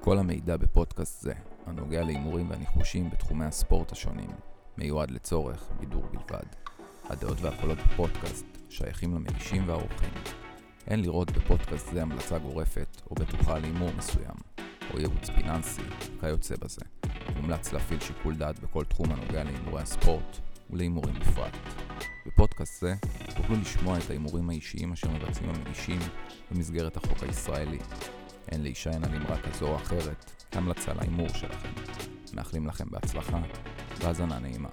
כל המידע בפודקאסט זה, הנוגע להימורים והניחושים בתחומי הספורט השונים, מיועד לצורך בידור בלבד. הדעות והקולות בפודקאסט שייכים למגישים והאורחים. אין לראות בפודקאסט זה המלצה גורפת או בטוחה להימור מסוים, או ייעוץ פיננסי, כיוצא בזה. מומלץ להפעיל שיקול דעת בכל תחום הנוגע להימורי הספורט ולהימורים בפרט. בפודקאסט זה תוכלו לשמוע את ההימורים האישיים אשר מבצעים המגישים במסגרת החוק הישראלי. אין להישען על אמרה כזו או אחרת, המלצה להימור שלכם. מאחלים לכם בהצלחה והאזנה נעימה.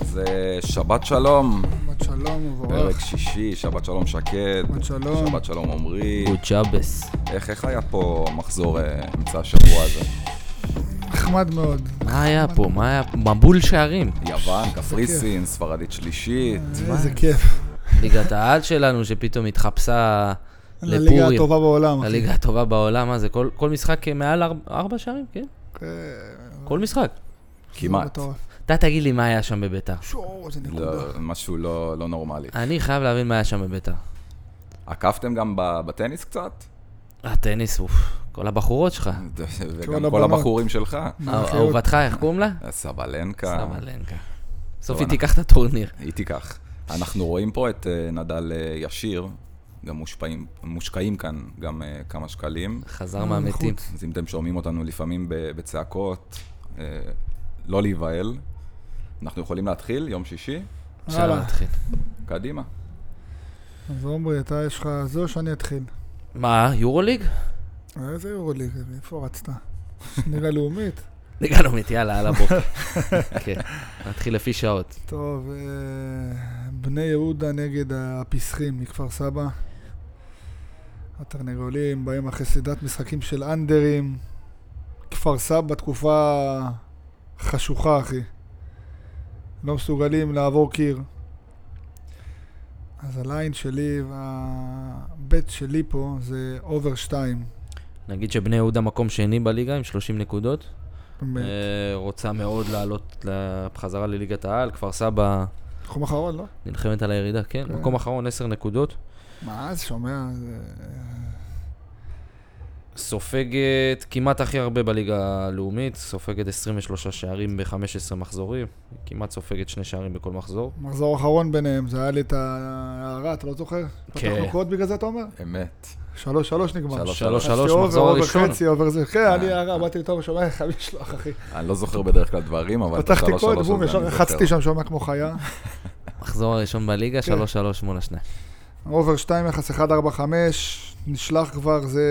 אז אה, שבת שלום, שבת שלום פרק ומבורך. שישי, שבת שלום שקד, שבת שלום. שבת שלום עמרי. גוד שבס. איך, איך היה פה מחזור אה, אמצע השבוע הזה? נחמד מאוד. מה היה פה? מה היה פה? מבול שערים. יוון, קפריסין, ספרדית שלישית. איזה כיף. ליגת העל שלנו שפתאום התחפשה הליגה לפורים. הטובה בעולם. אחי. הליגה הטובה בעולם, מה זה? כל כל משחק מעל ארבע- ארבע שערים, כן? אה, כל משחק. זה כמעט. מטורף. אתה תגיד לי מה היה שם בביתר. שואו, איזה נקודה. לא, משהו לא, לא נורמלי. אני חייב להבין מה היה שם בביתר. עקפתם גם ב- בטניס קצת? הטניס, אוף. כל הבחורות שלך. אה, וגם כל הבנות. הבחורים שלך? מהאחיות. אהובתך, איך קוראים לה? סבלנקה, סבלנקה. בסוף היא אנחנו- תיקח את הטורניר. היא תיקח. אנחנו רואים פה את אה, נדל אה, ישיר, גם מושפעים- מושקעים כאן גם אה, כמה שקלים. חזר מהמתים. אז אם אתם שומעים אותנו לפעמים ב- בצעקות, אה, לא להיבהל. אנחנו יכולים להתחיל, יום שישי, אפשר יאללה. להתחיל. קדימה. אז עומרי, אתה יש לך זו שאני אתחיל. אה, מה, יורוליג? איזה יורוליג, איפה רצת? ליגה לאומית. לגלומית, יאללה, על הבוקר. כן, נתחיל לפי שעות. טוב, אה, בני יהודה נגד הפיסחים מכפר סבא. התרנגולים באים אחרי סדרת משחקים של אנדרים. כפר סבא תקופה חשוכה, אחי. לא מסוגלים לעבור קיר. אז הליין שלי והבית שלי פה זה אובר שתיים. נגיד שבני יהודה מקום שני בליגה עם 30 נקודות. באמת. אה, רוצה מאוד לעלות ל- בחזרה לליגת העל, כפר סבא תחום אחרון, לא? נלחמת על הירידה, כן? כן. מקום אחרון 10 נקודות. מה, אז שומע? זה- סופגת כמעט הכי הרבה בליגה הלאומית, סופגת 23 שערים ב-15 מחזורים, כמעט סופגת שני שערים בכל מחזור. מחזור אחרון ביניהם, זה היה לי את ההערה, אתה לא זוכר? כן. פתחנו קוד בגלל זה אתה אומר? אמת. שלוש, שלוש נגמר. שלוש, שלוש, אז שלוש, שאובר, מחזור אובר ראשון. חצי, אובר זה, כן, אה. אני הערה, באתי לטוב השומע, חייב לשלוח, אחי. אני לא זוכר בדרך כלל דברים, אבל... את פתחתי השלוש קוד, שלוש בום, הזה ישר אני רחצתי זוכר. שם שומע כמו חיה. מחזור הראשון בליגה, 3-3 מול השניים. אובר 2, יחס 1, 4, 5, נשלח כבר, זה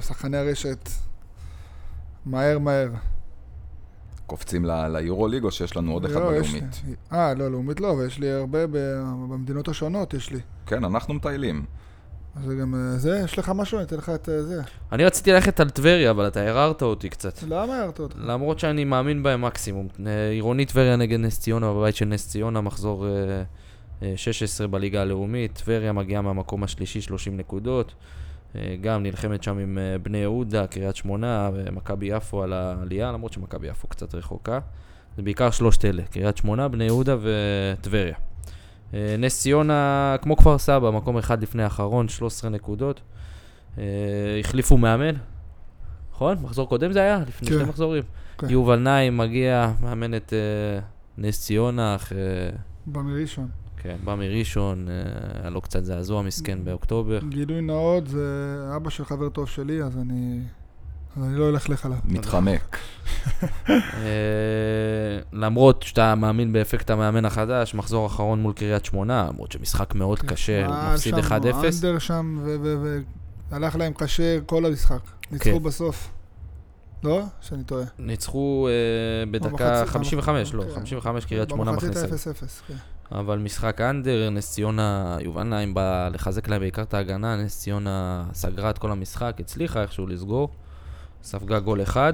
שחקני הרשת. מהר, מהר. קופצים ל- ליורוליג או שיש לנו עוד אחד לא, יש לי. בלאומית? אה, לא, לאומית לא, אבל יש לי הרבה ב- במדינות השונות, יש לי. כן, אנחנו מטיילים. אז זה גם אה, זה, יש לך משהו? אני אתן לך את אה, זה. אני רציתי ללכת על טבריה, אבל אתה הררת אותי קצת. למה הערת אותך? למרות שאני מאמין בהם מקסימום. אה, עירוני טבריה נגד נס ציונה בבית של נס ציונה, מחזור אה, אה, 16 בליגה הלאומית. טבריה מגיעה מהמקום השלישי, 30 נקודות. אה, גם נלחמת שם עם אה, בני יהודה, קריית שמונה ומכבי יפו על העלייה, למרות שמכבי יפו קצת רחוקה. זה בעיקר שלושת אלה, קריית שמונה, בני יהודה וטבריה. אה, נס ציונה, כמו כפר סבא, מקום אחד לפני האחרון, 13 נקודות. אה, החליפו מאמן, נכון? מחזור קודם זה היה? לפני כן. שני מחזורים. כן. יובל נעים מגיע, מאמן את אה, נס ציונה, אך... אה, במראשון. כן, בא מראשון, אה, היה לו קצת זעזוע מסכן באוקטובר. גילוי נאות, זה אבא של חבר טוב שלי, אז אני... אז אני לא אלכלך עליו. מתחמק. אה, למרות שאתה מאמין באפקט המאמן החדש, מחזור אחרון מול קריית שמונה, למרות שמשחק מאוד קשה, הוא אה, מפסיד 1-0. שם, אנדר שם, והלך להם קשה כל המשחק. ניצחו כן. בסוף. לא? שאני טועה. ניצחו אה, בדקה במחצית, 55, לא, כן. 55 קריית שמונה במחצית מכניסה. ה-0-0, כן. אבל משחק אנדר, נס ציונה, יובל נעים בא לחזק להם בעיקר את ההגנה, נס ציונה סגרה את כל המשחק, הצליחה איכשהו לסגור, ספגה גול אחד,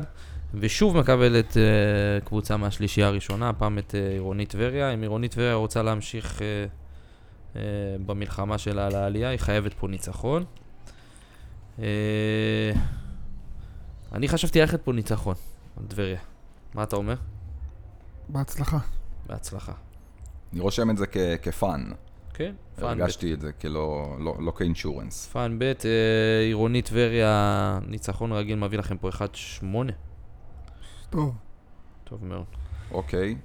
ושוב מקבלת uh, אה, קבוצה מהשלישייה הראשונה, הפעם את uh, עירונית טבריה. אם עירונית טבריה רוצה להמשיך uh, אה, במלחמה שלה על העלייה, היא חייבת פה ניצחון. אה, אני חשבתי ללכת פה ניצחון, על טבריה. מה אתה אומר? בהצלחה. בהצלחה. אני רושם את זה כ- כפאן. כן, פאן ב'. הרגשתי את זה כלא לא, לא כאינשורנס. פאן ב', אה, עירוני טבריה, ניצחון רגיל מביא לכם פה 1-8. טוב. טוב מאוד. אוקיי,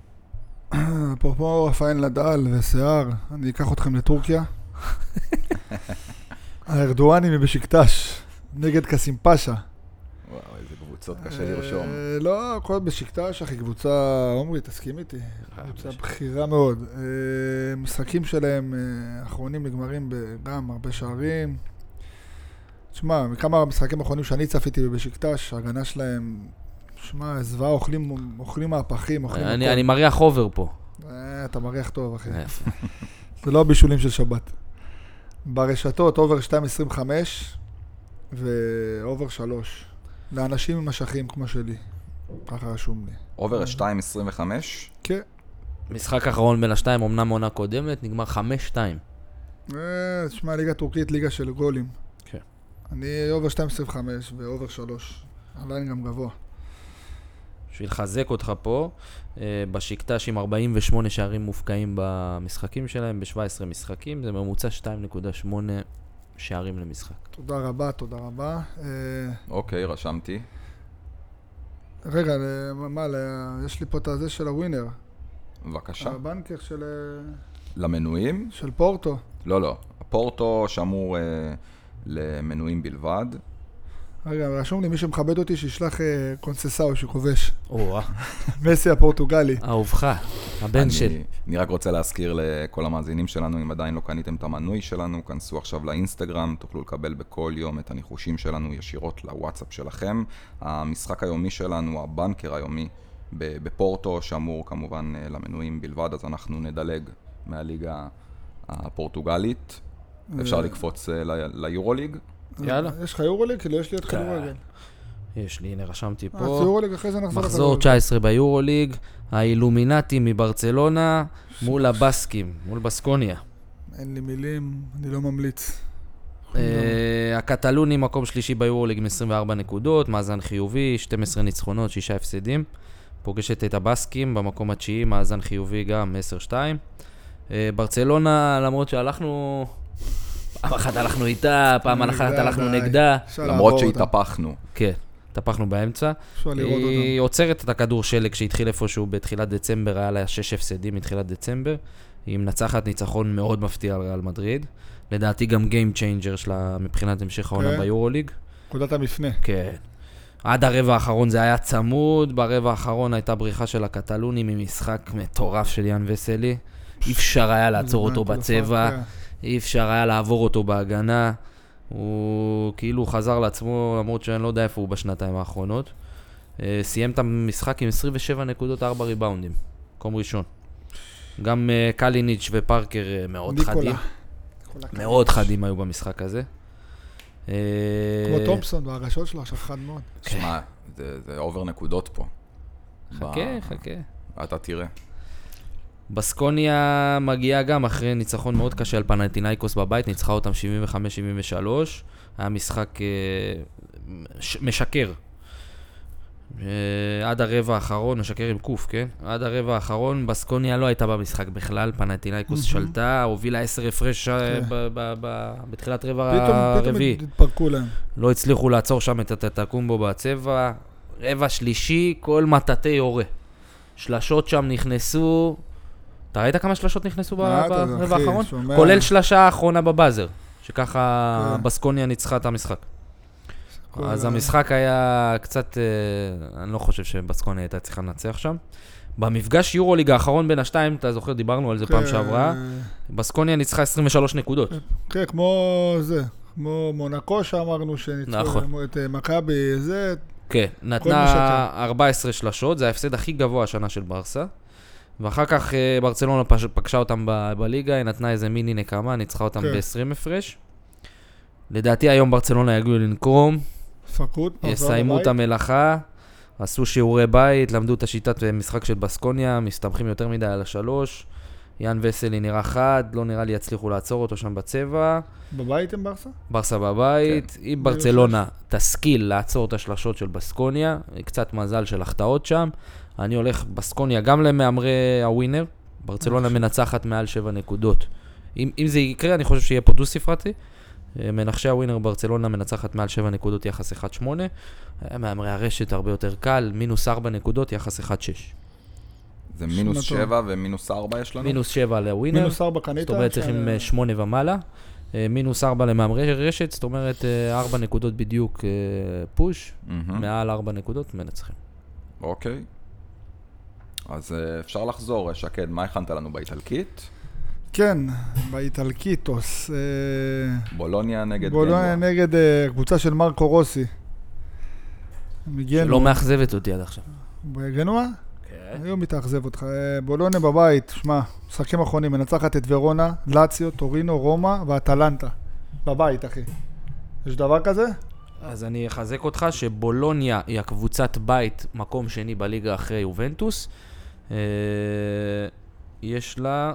אפרופו רפאל נדל ושיער, אני אקח אתכם לטורקיה. הארדואנים מבשיקטש, נגד קאסים פאשה. וואו, איזה קבוצות קשה לרשום. אה, לא, כל בשקטש, אחי, קבוצה, עומרי, תסכים איתי. קבוצה בכירה מאוד. אה, משחקים שלהם, אה, האחרונים נגמרים גם הרבה שערים. שמע, מכמה המשחקים האחרונים שאני צפיתי בבשיקטש, ההגנה שלהם, שמע, זוועה, אוכלים אוכלים מהפכים, אוכלים אני- הכל. אני מריח אובר פה. אה, אתה מריח טוב, אחי. יפה. זה לא הבישולים של שבת. ברשתות אובר 2.25 ואובר 3. לאנשים עם אשכים כמו שלי. ככה רשום לי. אובר 2.25? כן. משחק אחרון בין השתיים, אמנם עונה קודמת, נגמר 5-2. אה, תשמע, ליגה טורקית, ליגה של גולים. כן. אני אובר 2.25 ואובר 3. עדיין גם גבוה. בשביל לחזק אותך פה, אה, בשקטש עם 48 שערים מופקעים במשחקים שלהם, ב-17 משחקים, זה ממוצע 2.8 שערים למשחק. תודה רבה, תודה רבה. אה, אוקיי, רשמתי. רגע, אה, מה, מה, ל- יש לי פה את הזה של הווינר. אה? בבקשה. הבנקר של, אה, למנויים? של פורטו. לא, לא. פורטו שמור אה, למנויים בלבד. רגע, רשום לי, מי שמכבד אותי, שישלח אה, קונססאו שכובש. או-אה, מסי הפורטוגלי. אהובך, הבן אני- של. אני רק רוצה להזכיר לכל המאזינים שלנו, אם עדיין לא קניתם את המנוי שלנו, כנסו עכשיו לאינסטגרם, תוכלו לקבל בכל יום את הניחושים שלנו ישירות לוואטסאפ שלכם. המשחק היומי שלנו, הבנקר היומי ב- בפורטו, שמור כמובן אה, למנויים בלבד, אז אנחנו נדלג מהליגה הפורטוגלית. אפשר לקפוץ אה, ל- ליורוליג. יאללה. יש לך יורוליג? כאילו, יש לי עוד כדורגל. יש לי, הנה רשמתי אה, פה. אז יורוליג, אחרי זה נחזור מחזור 19 ביורוליג, האילומינטי מברצלונה מול הבסקים, מול בסקוניה. נכון אין לי מילים, אני לא ממליץ. אה, הקטלוני מקום שלישי ביורוליג עם 24 נקודות, מאזן חיובי, 12 ניצחונות, 6 הפסדים. פוגשת את הבסקים במקום התשיעי, מאזן חיובי גם 10-2. אה, ברצלונה, למרות שהלכנו... פעם אחת הלכנו איתה, פעם אחת נגדה, הלכנו די. נגדה. אפשר למרות לעבור אותה. שהתהפכנו. כן, טפחנו באמצע. אפשר לראות אותה. היא אה, עוצרת את הכדור שלג שהתחיל איפשהו בתחילת דצמבר, היה לה 6 הפסדים מתחילת דצמבר. היא מנצחת ניצחון מאוד מפתיע על ריאל מדריד. לדעתי גם Game Changer שלה מבחינת המשך העונה כן. ביורוליג. נקודת המפנה. כן. עד הרבע האחרון זה היה צמוד, ברבע האחרון הייתה בריחה של הקטלונים ממשחק מטורף של יאן וסלי. אי אפשר היה לעצור אותו זה בצבע, כן. אי אפשר היה לעבור אותו בהגנה. הוא כאילו חזר לעצמו, למרות שאני לא יודע איפה הוא בשנתיים האחרונות. אה, סיים את המשחק עם 27 נקודות, 4 ריבאונדים. מקום ראשון. גם אה, קליניץ' ופארקר אה, מאוד ניקולה. חדים. ניקולה כן. קליניץ'. מאוד חדים היו במשחק הזה. אה, כמו תומפסון והרשות שלו עכשיו חד מאוד. כן. שמע, זה זה אובר נקודות פה. חכה, ב- חכה. אתה תראה. בסקוניה מגיעה גם אחרי ניצחון מאוד קשה על פנטינאיקוס בבית, ניצחה אותם 75-73. היה משחק אה, מש- משקר. אה, עד הרבע האחרון, משקר עם קוף, כן? עד הרבע האחרון, בסקוניה לא הייתה במשחק בכלל, פנטינאיקוס מהמם. שלטה, הובילה 10 הפרש אה, כן. ב- ב- ב- בתחילת רבע פתאום פתאום הרביעי. התפרקו להם. לא הצליחו לעצור שם את הטטקומבו בצבע. רבע שלישי, כל מטאטא יורה. שלשות שם נכנסו... אתה ראית כמה שלשות נכנסו ב- מה אתה, ברבע אחי, האחרון? שומע? כולל שלשה האחרונה בבאזר, שככה כן. בסקוניה ניצחה את המשחק. כל אז ה- המשחק היה קצת... אה, אני לא חושב שבסקוניה הייתה צריכה לנצח שם. במפגש יורוליג האחרון בין השתיים, אתה זוכר, דיברנו על זה פעם כן, שעברה, בסקוניה ניצחה 23 נקודות. כן, כמו זה. כמו מונקו שאמרנו שניצחו נכון. את אה, מכבי, זה, כן, מי נתנה שאתה. 14 שלשות, זה ההפסד הכי גבוה השנה של ברסה. ואחר כך אה, ברצלונה פש- פגשה אותם ב- בליגה, היא נתנה איזה מיני נקמה, ניצחה אותם כן. ב-20 הפרש. לדעתי היום ברצלונה יגיעו לנקום, פקוד. יסיימו את המלאכה, עשו שיעורי בית, למדו את השיטת אה, משחק של בסקוניה, מסתמכים יותר מדי על השלוש. יאן וסלי נראה חד, לא נראה לי יצליחו לעצור אותו שם בצבע. בבית הם ברסה? ברסה בבית, כן. אם ברצלונה תשכיל לעצור את השלשות של בסקוניה, קצת מזל של החטאות שם. אני הולך בסקוניה גם למהמרי הווינר, ברצלונה מנצחת מעל 7 נקודות. אם, אם זה יקרה, אני חושב שיהיה פה דו ספרתי. מנחשי הווינר ברצלונה מנצחת מעל 7 נקודות, יחס 1-8. מהמרי הרשת הרבה יותר קל, מינוס 4 נקודות, יחס 1-6. זה מינוס שנתון. 7 ומינוס 4 יש לנו? מינוס 7 לווינר, מינוס ארבע קנית? זאת אומרת צריכים אה, 8 ומעלה. אה, מינוס 4 למהמרי רשת, זאת אומרת אה, 4 נקודות בדיוק אה, פוש, מהמם. מעל 4 נקודות מנצחים. כן, אוקיי. אז אה, אפשר לחזור, אה, שקד, מה הכנת לנו באיטלקית? כן, באיטלקיטוס. אה, בולוניה נגד בולוניה גנוע. נגד אה, קבוצה של מרקו רוסי. שלא מגנוע. לא מאכזבת אותי עד עכשיו. בגנוע? היום היא תאכזב אותך. אה, בולוניה בבית, שמע, משחקים אחרונים, מנצחת את ורונה, לאציו, טורינו, רומא ואטלנטה. בבית, אחי. יש דבר כזה? אז אני אחזק אותך שבולוניה היא הקבוצת בית, מקום שני בליגה אחרי יובנטוס. אה, יש לה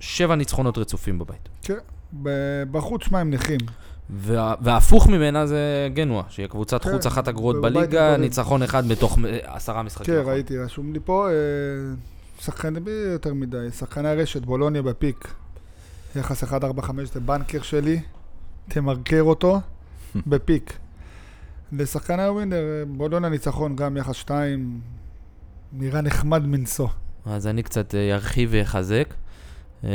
שבע ניצחונות רצופים בבית. כן. ב- בחוץ, שמע, הם נכים. וה- וההפוך ממנה זה גנוע, שהיא קבוצת כן, חוץ אחת הגרועות בבית בליגה, מתמודד. ניצחון אחד מתוך אה, עשרה משחקים. כן, נכון? ראיתי, רשום לי פה, אה, שחקן, בלי יותר מדי, שחקני הרשת, בולוניה בפיק. יחס 1-4-5 זה בנקר שלי, תמרקר אותו, בפיק. לשחקני הווינר, אה, בולוניה ניצחון גם יחס 2, נראה נחמד מנשוא. אז אני קצת אה, ארחיב ואחזק. אה,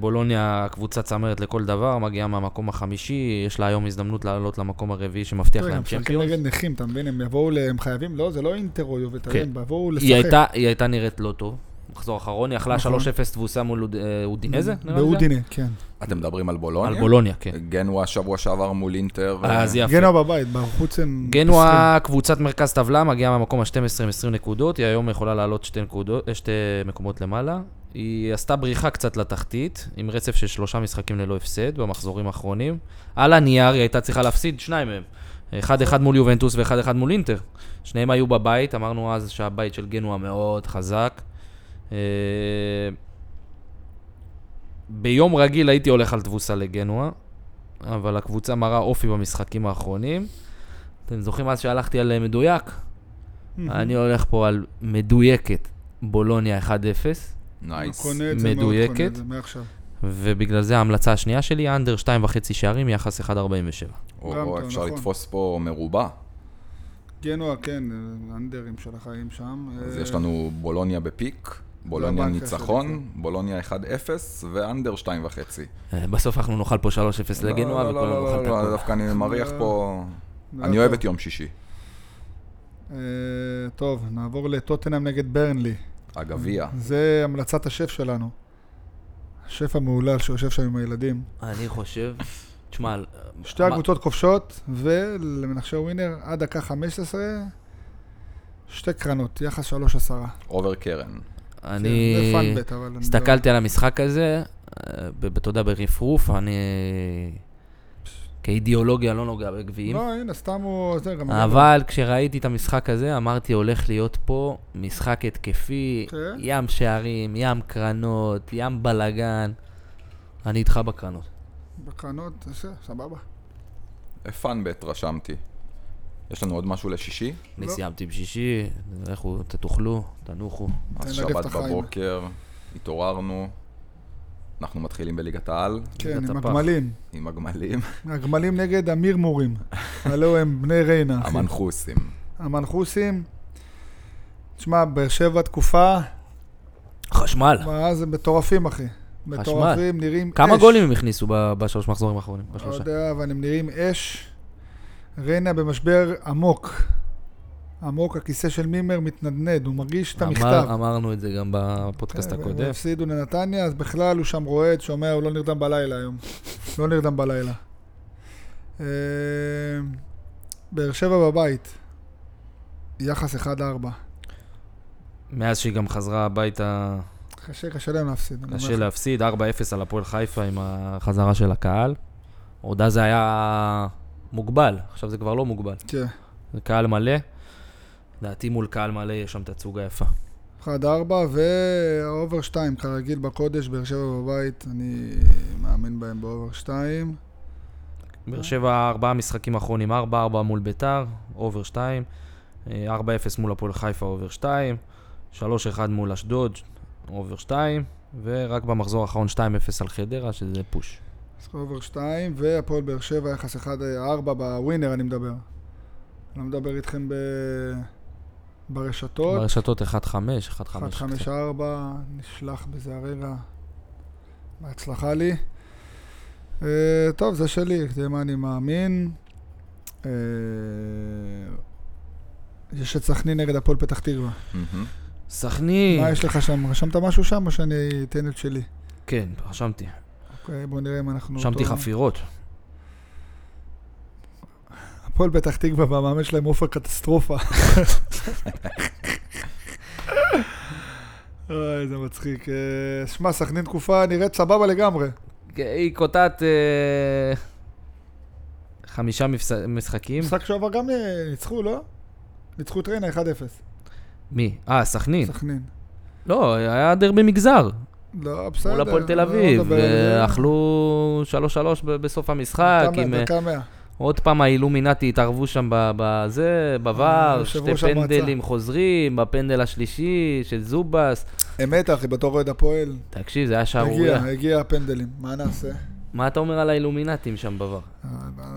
בולוניה קבוצה צמרת לכל דבר, מגיעה מהמקום החמישי, יש לה היום הזדמנות לעלות למקום הרביעי שמבטיח תראה, להם גם משחקים צ'מפיונס. נגד נכים, אתה מבין? הם יבואו, ל- הם חייבים, לא, זה לא אינטר או יובטרים, כן. הם יבואו לשחק. היא הייתה, היא הייתה נראית לא טוב, מחזור אחרון, היא אכלה נכון. 3-0 תבוסה מול אוד- אה, אודינזה, נראה לי זה? באודיניה, כן. אתם מדברים על על בולוניה? בולוניה, כן. גנוע שבוע שעבר מול אינטר. אז אה, יפה. גנוע בבית, בחוץ הם... פוסלים. גנוע, קבוצת מרכז טבלה, מגיעה מהמקום ה-12 עם 20 נקודות, היא היום יכולה לעלות שתי, נקודות, אה, שתי מקומות למעלה. היא עשתה בריחה קצת לתחתית, עם רצף של שלושה משחקים ללא הפסד במחזורים האחרונים. על הנייר היא הייתה צריכה להפסיד שניים מהם. אחד אחד מול יובנטוס ואחד אחד מול אינטר. שניהם היו בבית, אמרנו אז שהבית של גנוע מאוד חזק. אה, ביום רגיל הייתי הולך על תבוסה לגנוע, אבל הקבוצה מראה אופי במשחקים האחרונים. אתם זוכרים אז שהלכתי על אה, מדויק? אני הולך פה על מדויקת בולוניה 1-0, נייס. קונה את זה מאוד, קונה את אה, מדויקת. זה מעכשיו. ובגלל זה ההמלצה השנייה שלי, אנדר 2.5 שערים, יחס 1.47. או- גם או טוב, אפשר נכון. לתפוס פה מרובע. גנוע, כן, אנדרים של החיים שם. אז אה, יש לנו בולוניה בפיק, בולוניה הבנק ניצחון, החדש. בולוניה 1-0 ואנדר 2.5. אה, בסוף אנחנו נאכל פה 3-0 לגנוע, לא, לא, וכולנו לא, נאכל את לא, לא, הכול. דווקא אני מריח פה... לא אני טוב. אוהב את יום שישי. אה, טוב, נעבור לטוטנאם נגד ברנלי. הגביע. זה המלצת השף שלנו. השף המהולל שיושב שם עם הילדים. לא. אני חושב, תשמע, על- שתי מה- הקבוצות כובשות, ולמנחשי ווינר עד דקה 15, שתי קרנות, יחס 3-10. עובר קרן. אני זה פאנבט, אבל... אני לא- הסתכלתי על המשחק הזה, אה, ב- אתה יודע, ברפרוף, אני כאידיאולוגיה לא נוגע בגביעים. לא, הנה, סתם הוא... זה גם... אבל כשראיתי את המשחק הזה, אמרתי, הולך להיות פה משחק התקפי, כן. ים שערים, ים קרנות, ים בלאגן. אני איתך בקרנות. לא- בקרנות, זה, סבבה. פאנבט רשמתי. יש לנו עוד משהו לשישי? אני לא. סיימתי בשישי, לכו, ת- תאכלו, תנוחו. אז נגף את שבת החיים. בבוקר, התעוררנו, אנחנו מתחילים בליגת העל כן, ליגת עם הפח. הגמלים. עם הגמלים, הגמלים נגד אמיר מורים. הלו הם בני ריינה, אחי. המנחוסים. המנחוסים. תשמע, באר שבע תקופה, חשמל. ואז הם מטורפים, אחי. מטורפים, נראים כמה אש. גולים הם הכניסו ב- בשלוש מחזורים האחרונים? לא בשלושה. יודע, אבל הם נראים אש. ריינה במשבר עמוק. עמוק, הכיסא של מימר מתנדנד, הוא מרגיש את אמר- המכתב. אמרנו את זה גם בפודקאסט כן, הקודם. והם הפסידו לנתניה, אז בכלל הוא שם רועד, שומע, הוא לא נרדם בלילה היום. לא נרדם בלילה. אה, באר שבע בבית, יחס 1-4. מאז שהיא גם חזרה הביתה, קשה, קשה להם להפסיד. אני קשה אומר לך. להפסיד, 4-0 על הפועל חיפה עם החזרה של הקהל. עוד אז זה היה מוגבל, עכשיו זה כבר לא מוגבל. כן, זה קהל מלא. לדעתי מול קהל מלא יש שם תצוגה יפה. 1-4, והאובר 2, כרגיל בקודש, באר שבע בבית, אני מאמין בהם באובר 2. אה. באר שבע, ארבעה משחקים אחרונים, 4-4 מול ביתר, אובר 2, 4-0 מול הפועל חיפה, אובר 2, 3-1 מול אשדוד, אובר 2, ורק במחזור האחרון 2-0 על חדרה, שזה פוש. אז אובר 2, והפועל באר שבע, יחס 1-4 בווינר אני מדבר. אני לא מדבר איתכם ב... ברשתות. ברשתות 1-5, 1-5. 1-5-4, נשלח בזה הרגע. בהצלחה לי. Uh, טוב, זה שלי, זה מה אני מאמין. Uh, יש את סכנין נגד הפועל פתח תקווה. מהמם. סכנין! מה יש לך שם? רשמת משהו שם או שאני אתן את שלי? כן, רשמתי. אוקיי, בוא נראה אם אנחנו... רשמתי אותו- חפירות. הפועל פתח תקווה והמאמן שלהם עופר קטסטרופה. אוי, זה מצחיק. אה, שמע, סכנין תקופה נראית סבבה לגמרי. כן, היא קוטעת אה, חמישה מפס- משחקים. משחק שעבר גם אה, ניצחו, לא? ניצחו את ריינה 1-0, מי? אה, סכנין. סכנין. לא, היה דרבי מגזר. לא, בסדר. מול הפועל תל לא אביב. נדבר על זה. אה, אכלו 3-3 ב- בסוף המשחק. דקה עם, מאה, אה, דקה מאה. עוד פעם האילומינטי התערבו שם ב- בזה, בVAR, יושב שתי ראש אה, המועצה. פנדלים חוזרים, בפנדל השלישי של זובס. אמת, אחי, בתור אוהד הפועל. תקשיב, זה היה שערורייה. הגיע, הגיע הפנדלים. מה נעשה? מה אתה אומר על האילומינטים שם בVAR? אה,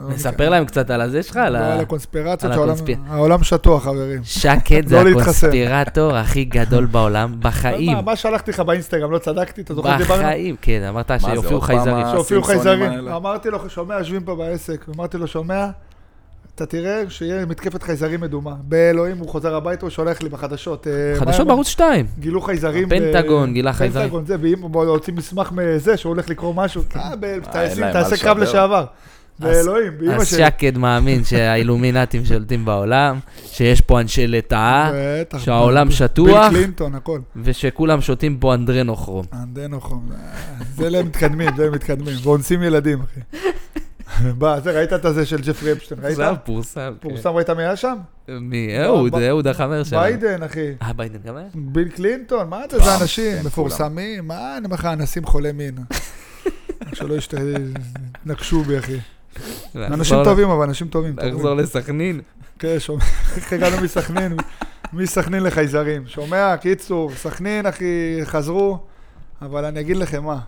לא נספר להם קצת על הזה שלך, על לא, ה... על הקונספירציות על שהעולם- הקונספיר- העולם שטוח, חברים. שקד זה לא להתחסן. הקונספירטור הכי גדול בעולם, בחיים. מה- מה שלחתי לך באינסטגרם, לא צדקתי? אתה זוכר שדיברנו? בחיים, כן, אמרת זה, שיופיעו עוד פעם חייזרים. ה- שהופיעו הסימפסונים חייזרים. האלה. אמרתי לו, שומע, יושבים פה בעסק. אמרתי לו, שומע, אתה תראה שיהיה מתקפת חייזרים מדומה. באלוהים, הוא חוזר הביתה, הוא שולח לי בחדשות. אה, מה חדשות הם- בערוץ 2. גילו חייזרים. הפנטגון ב- גילה חייזרים. פנטגון, זה, ואם הם הוציא מסמך מזה, שהוא הולך לקרוא משהו, אה, ב- תעשי- להם מה תעשה קרב לשדר. לשעבר. אז- באלוהים, באמא אז שלי. שקד מאמין שהאילומינטים שולטים בעולם, שיש פה אנשי לטאה, בטח. שהעולם ביל שטוח. קלינטון, הכל. ושכולם שותים פה אנדרנוכרום. אנדנוכום, זה להם מתקדמים, זה הם מתקדמים, ואונסים ילדים, אחי. בא, זה, ראית את הזה של ג'פרי אפשטיין, ראית? זה פורסם. כן. פורסם, ראית מי היה שם? מי? אהוד, ב- אהוד החבר שלנו. ביידן, אחי. אה, ביידן גם היה? ביל קלינטון, מה אתה, אה, טראמפ, זה אנשים כן, מפורסמים, מה, אני אומר לך, אנסים חולי מין. שלא ישת- יתנגשו בי, אחי. לא, אנשים נחזור- טובים, אבל אנשים טובים. טובים. נחזור לסכנין. כן, שומע, איך הגענו מסכנין, מסכנין לחייזרים. שומע, קיצור, סכנין, אחי, חזרו, אבל אני אגיד לכם מה.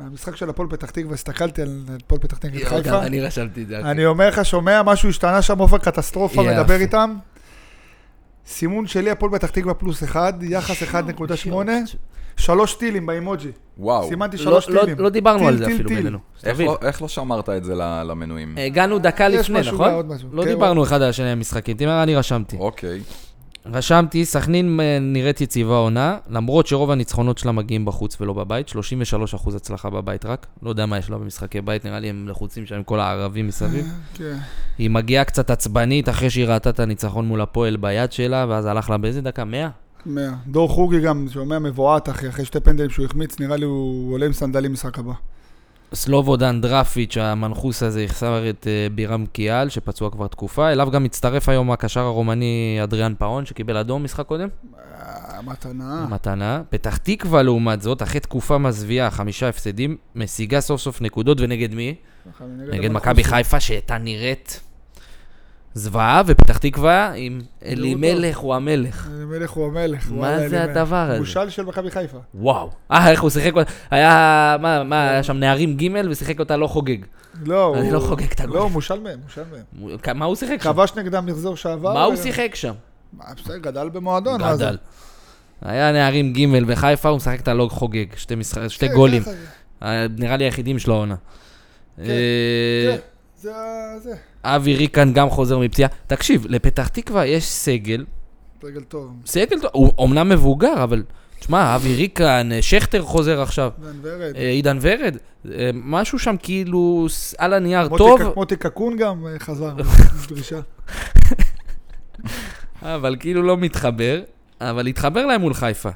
מהמשחק של הפועל פתח תקווה, הסתכלתי על הפועל פתח תקווה נגד חיפה. אני רשמתי את זה. אני אומר לך, שומע, משהו השתנה שם, עופר קטסטרופה, אוקיי. יפה. מדבר איתם. סימון שלי, הפועל פתח תקווה פלוס אחד, יחס 1.8, שלוש טילים באימוג'י. וואו. סימנתי לא- שלוש לא- טילים. לא דיברנו טיל, על זה טיל, אפילו טיל. בינינו. איך תבין. לא- איך לא שמרת את זה ל- למנויים? הגענו דקה יש לפני, משהו, נכון? עוד משהו. לא כן, דיברנו אחד על השני המשחקים. תראה, אני רשמתי. אוקיי. רשמתי, סכנין אה, נראית יציבה עונה, למרות שרוב הניצחונות שלה מגיעים בחוץ ולא בבית, 33% הצלחה בבית רק. לא יודע מה יש לה במשחי בית, נראה לי הם לחוצים שם עם כל הערבים מסביב. כן. היא מגיעה קצת עצבנית אחרי שהיא ראתה את הניצחון מול הפועל ביד שלה, ואז הלך לה באיזה דקה? 100? מאה. דור חוגי גם, שומע מבועת, אחי, אחרי שתי פנדלים שהוא החמיץ, נראה לי הוא עולה עם סנדלים משחק הבא. סלובודן דרפיץ', המנחוס הזה, יחסר את אה, בירם קיאל, שפצוע כבר תקופה. אליו גם הצטרף היום הקשר הרומני אדריאן פאון, שקיבל אדום משחק קודם. אה, מתנה. מתנה. פתח תקווה, לעומת זאת, אחרי תקופה מזוויעה, חמישה הפסדים, משיגה סוף סוף נקודות, ונגד מי? נגד מכבי חיפה, שהייתה נראית זוועה, ופתח תקווה עם אלימלך הוא המלך. אלימלך הוא המלך. מה וואלה, זה אלימלך. הדבר הזה? בושל של מכבי חיפה. וואו. אה, איך הוא שיחק, היה, מה, מה, היה שם נערים ג' ושיחק אותה לא חוגג. לא, הוא... אני לא חוגג את הגול. לא, הוא מושל מהם, מושל מהם. מה הוא שיחק שם? כבש נגדם מחזור שעבר. מה הוא ו- שיחק שם? מה, בסדר, גדל במועדון. מה זה? גדל. היה נערים ג' בחיפה, הוא משחק את הלוג חוגג, שתי משחק- שתי כן, גולים. ככה זה. ה- נראה לי היחידים של העונה. אה, כן. זה ה- זה. אבי ריקן גם חוזר מפציעה. תקשיב, לפתח תקווה יש סגל, רגל טוב. סגל טוב, הוא אומנם מבוגר, אבל תשמע, אבי ריקן, אה, שכטר חוזר עכשיו, דן ורד. אה, עידן ורד, אה, משהו שם כאילו ס- על הנייר מוטי טוב, ק- מוטי קקון גם אה, חזר. דרישה. אה, אבל כאילו לא מתחבר, אבל התחבר להם מול חיפה.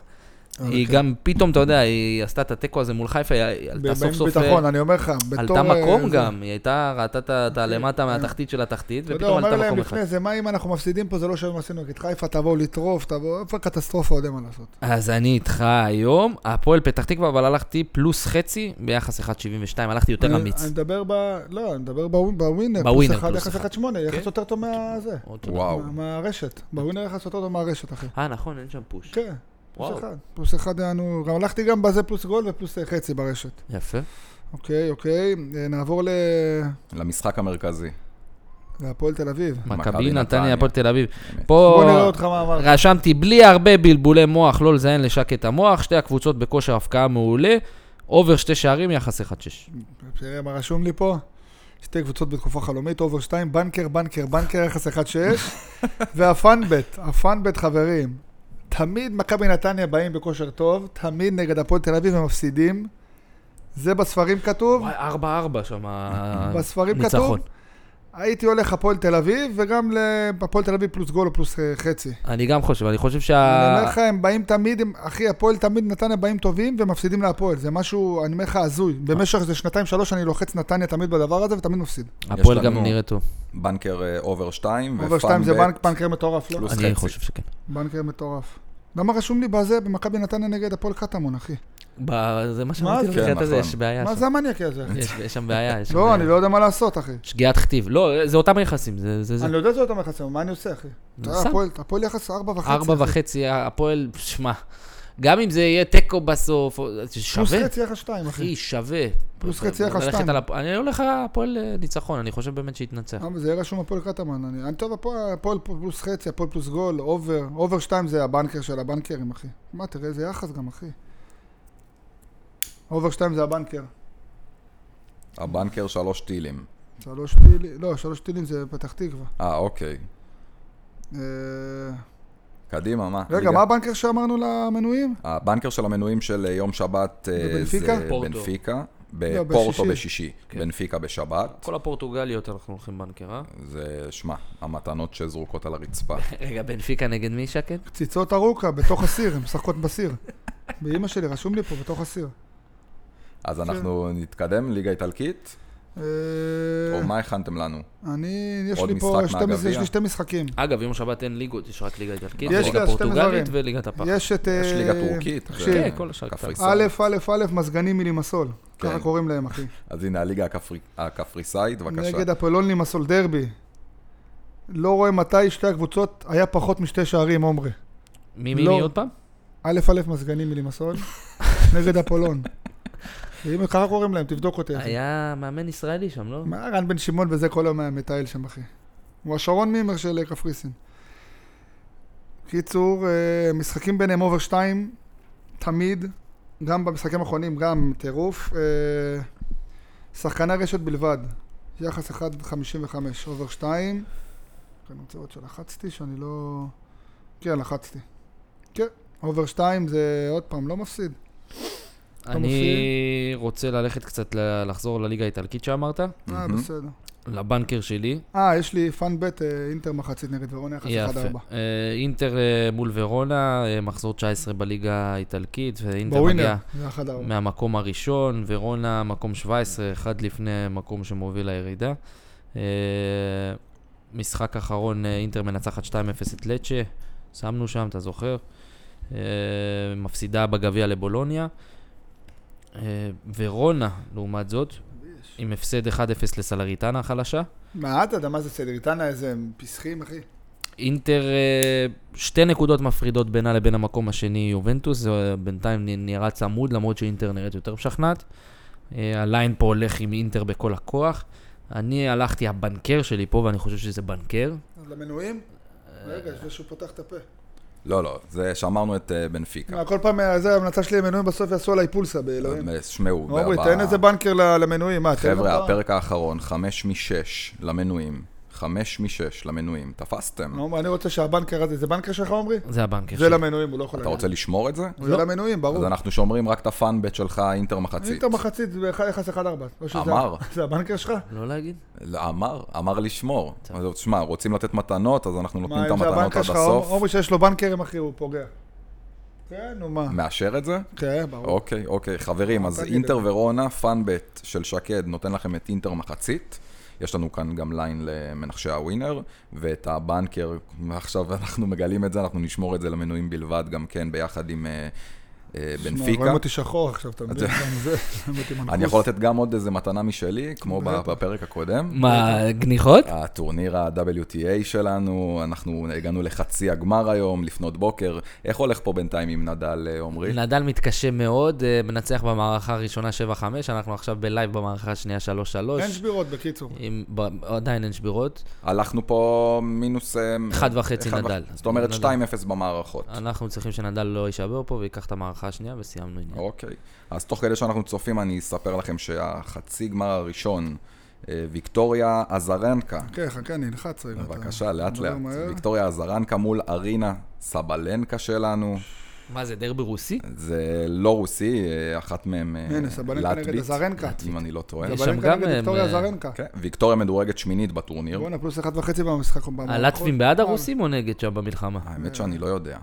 אבל היא כן. גם, פתאום, אתה יודע, היא עשתה את התיקו הזה מול חיפה, היא עלתה סוף סוף... אה, ביטחון, אני אומר לך, בתור... עלתה אה, מקום זה- אוקיי. גם, היא הייתה, ראתה את ה- את הלמטה מהתחתית של התחתית, אתה יודע, ופתאום אומר עלתה להם מקום אחד. לפני זה, מה אם אנחנו מפסידים פה, זה לא שווה מה שעשינו נגד חיפה, תבואו לטרוף, תבואו, איפה קטסטרופה, עוד אין מה לעשות. אז אני איתך היום, הפועל פתח תקווה, אבל הלכתי פלוס חצי ביחס 1.72, הלכתי יותר אני- אמיץ. אני מדבר ב... לא, אני מדבר בווינ- בווינר. בווינר, פלוס 1, פלוס יחס אחד. 1-8, כן. יחס יותר טוב מהזה. עוד תודה. וואו. מה- מהרשת. בווינר יחס יותר טוב מהרשת, אחי. אה, נכון, אין שם פוש. כן, וואו. פלוס אחד. פלוס אחד היה לנו... גם הלכתי גם בזה פלוס גול ופלוס אה, חצי ברשת. יפה. אוקיי, אוקיי. אה, נעבור ל... למשחק המרכזי. להפועל תל אביב. מכבי מכבי נתניה, נתניה. הפועל תל אביב. באמת. בוא פה נראה אותך מה אמרת. רשמתי בלי הרבה בלבולי מוח, לא לזיין לשק את המוח, שתי הקבוצות בכושר הפקעה מעולה, אובר שתי שערים, יחס 1.6. תראה מה רשום לי פה. שתי קבוצות בתקופה חלומית, אובר 2, בנקר, בנקר, בנקר, יחס 1-6. והפאנבט, הפאנבט חברים. תמיד מכבי נתניה באים בכושר טוב, תמיד נגד הפועל תל אביב הם מפסידים. זה בספרים כתוב, וואי, 4-4 שם בספרים כתוב. הניצחון. הייתי הולך הפועל תל אביב, וגם הפועל תל אביב פלוס גול או פלוס אה, חצי. אני גם חושב, אני חושב אני אומר שה... לך, הם באים תמיד, הם- אחי, הפועל תמיד נתניה באים טובים ומפסידים להפועל. זה משהו, אני אומר לך, הזוי. במשך איזה שנתיים-שלוש אני לוחץ נתניה תמיד בדבר הזה ותמיד מפסיד. הפועל יש גם לנו- נראה טוב. בנקר אה, אובר 2, אובר 2 זה בנק, בנקר מטורף, לא? פלוס אני חצי. חושב שכן. בנקר מטורף. למה רשום לי בזה במכבי נתניה נגד הפועל קטמון, אחי? ב- זה מה מה שאמרתי לך, זה? בתחילת כן, הזה, נכון. יש בעיה מה שם. זה המניאקי הזה, אחי? יש- יש שם בעיה, יש שם לא, בעיה. אני לא יודע מה לעשות, אחי. שגיאת כתיב. לא, זה אותם היחסים, זה... זה- זה- אני לא יודע שזה אותם יחסים, מה אני עושה, אחי? אתה יודע, בסדר. הפועל- הפועל יחס ארבע וחצי. ארבע אחי. וחצי, הפועל, שמע, גם אם זה יהיה תיקו בסוף, או- זה פלוס שווה, חצי יחס שתיים, אחי. אחי, שווה. פלוס חצי יחס ללכת שתיים. על הפ- אני הולך על הפועל אה, ניצחון, אני חושב באמת כן. שיתנצח. למה, זה יהיה רשום הפועל קטמון. אני- אני טוב, הפועל הפועל פלוס חצי, הפועל פלוס גול, אובר. אובר שתיים זה הבנקר של הבנקרים, אחי. מה, תראה איזה יחס גם, אחי. אובר שתיים זה הבנקר. הבנקר 3 טילים. שלוש טילים, לא, שלוש טילים זה פתח תקווה. אה, אוקיי. אה, קדימה, מה? רגע, ליגה. מה הבנקר שאמרנו למנויים? הבנקר של המנויים של אה, יום שבת אה, בבנפיקה? זה פורטו. בנפיקה. לא, בפורטו בשישי. בשישי. כן. בנפיקה בשבת. כל הפורטוגליות אנחנו הולכים בנקר, אה? זה, שמע, המתנות שזרוקות על הרצפה. רגע, בנפיקה נגד מי שקד? קציצות ארוכה, בתוך הסיר, הן משחקות בסיר. באימא שלי, רשום לי פה, בתוך הסיר. אז אנחנו נתקדם, ליגה איטלקית? אה, או מה הכנתם לנו? אני, יש עוד לי פה, משחק שתי מש- מהגביע? יש לי שתי משחקים. אגב, יום שבת אין ליגות, יש רק ליגה איטלקית, יש ליגה לה שתי פורטוגלית מזרים. וליגת הפח. יש את... אה, יש ליגה טורקית. תקשיב. ו- כן, כל השאר קפריסאית. א', א', א', מזגנים מלימסול. ככה כן. קוראים להם, אחי. אז הנה הליגה הקפרי- הקפריסאית, בבקשה. נגד הפולון לימסול דרבי. לא רואה מתי שתי הקבוצות היה פחות משתי שערים, עומרי. מי, מי, לא. מי עוד פעם? א', א', מזגנים מלימסול, נגד הפולון. ואם ככה קוראים להם, תבדוק אותי, אחי. היה מאמן ישראלי שם, לא? מה רן בן שמעון וזה כל היום היה מטייל שם, אחי. הוא השרון מימר של אה, קפריסין. קיצור, אה, משחקים ביניהם אובר שתיים, תמיד, גם במשחקים האחרונים, גם טירוף. אה, שחקני רשת בלבד, יחס 1.55, אובר שתיים. אני רוצה לראות שלחצתי, שאני לא... כן, לחצתי. כן, אובר שתיים זה עוד פעם, לא מפסיד. אני רוצה ללכת קצת, ל- לחזור לליגה האיטלקית שאמרת, אה, מהמם. בסדר. לבנקר שלי, אה, יש לי פאנבט אה, אינטר מחצית נגד ורונה, יחס 1-4. יפה. אה, אינטר אה, מול ורונה, אה, מחזור 19 בליגה האיטלקית, ואינטר בווינר, מגיע זה 1-4. מהמקום הראשון, ורונה מקום 17, אחד לפני מקום שמוביל לירידה. אה, משחק אחרון, אה, אינטר מנצחת 2-0 את לצ'ה, שמנו שם, אתה זוכר? אה, מפסידה בגביע לבולוניה. אה, ורונה, לעומת זאת, עם הפסד 1-0 לסלריטנה החלשה. מה, אתה יודע מה זה סדריטנה, איזה פיסחים, אחי? אינטר, אה, שתי נקודות מפרידות בינה לבין המקום השני, יובנטוס, זה אה, בינתיים נ- נראה צמוד, למרות שאינטר נראית יותר משכנעת. אה, הליין פה הולך עם אינטר בכל הכוח. אני הלכתי, הבנקר שלי פה, ואני חושב שזה בנקר. אז למנויים? רגע, לפני שהוא פותח את הפה. לא, לא, זה שמרנו את אה, בנפיקה. אה, מה, כל פעם, אה, זה ההמלצה שלי למנויים, בסוף יעשו עליי פולסה, באלוהים. שמעו, עמרי, ב- תן איזה בנקר ל- למנויים, מה, תן חבר'ה, לך? הפרק האחרון, חמש משש למנויים. חמש משש למנויים. תפסתם? עמרי, אני רוצה שהבנקר הזה, זה בנקר שלך, עמרי? זה הבנקר זה שלי. למנויים, הוא לא יכול אתה להגיד. רוצה לשמור את זה? זה למנויים, ברור. אז אנחנו שומרים רק את הפאנבט שלך, אינטר מחצית. אינטר מחצית, ב- יחס 1-4. לא שזה- אמר. זה הבנקר שלך? לא להגיד? לא, אמר, אמר לשמור. אז תשמע, רוצים לתת מתנות, אז אנחנו נותנים מה, את אם זה המתנות הבנקר עד שלך, הסוף. עמרי שיש לו בנקרים, אחי, הוא פוגע. כן, נו מה. מאשר את זה? כן, ברור. אוקיי, אוקיי. חברים, אז תגיד אינטר את ורונה, פאנבט של שקד, נותן לכם את אינטר מחצית. יש לנו כאן גם ליין למנחשי הווינר, ואת הבנקר, עכשיו אנחנו מגלים את זה, אנחנו נשמור את זה למנויים בלבד, גם כן ביחד עם אה, אה, שמע, בנפיקה. רואים אותי שחור עכשיו, אתה מבין? אתה- גם זה, רואים אותי מנחוס. אני יכול לתת גם עוד איזה מתנה משלי, כמו בטח. בפרק הקודם. מה, גניחות? הטורניר ה-WTA שלנו, אנחנו הגענו לחצי הגמר היום, לפנות בוקר. איך הולך פה בינתיים עם נדל, אה, עומרי? נדל מתקשה מאוד, אה, מנצח במערכה הראשונה 7-5, אנחנו עכשיו בלייב במערכה השנייה 3-3. אין שבירות, בקיצור. עם- ב- עדיין אין שבירות. הלכנו פה מינוס... אה, אחד וחצי אחד וח- נדל. זאת אומרת נדל. אה. 2-0 במערכות. אנחנו צריכים שנדל לא יישבר פה ויקח את המערכה השנייה וסיימנו עניין. אוקיי. אז תוך כדי שאנחנו צופים, אני אספר לכם שהחצי גמר הראשון, אה, ויקטוריה עזרנקה. כן, חכה, אני אלחץ רגע. אתה- בבקשה, לאט מדבר לאט. מהר. ויקטוריה עזרנקה מול ארינה סבלנקה שלנו. מה זה, דרבי רוסי? זה לא רוסי, אה, אחת מהם אה, הנה, סבלנקה נגד עזרנקה. אם אני לא טועה. יש אבל שם אין כאן גם, נגד אה, ויקטוריה אה, זרנקה. כן, ויקטוריה מדורגת שמינית בטורניר. בואנה, פלוס אחת וחצי במשחק. במערכות. הלטבים נכון. בעד הרוסים או נגד שם במלחמה? אה. האמת שאני לא יודע.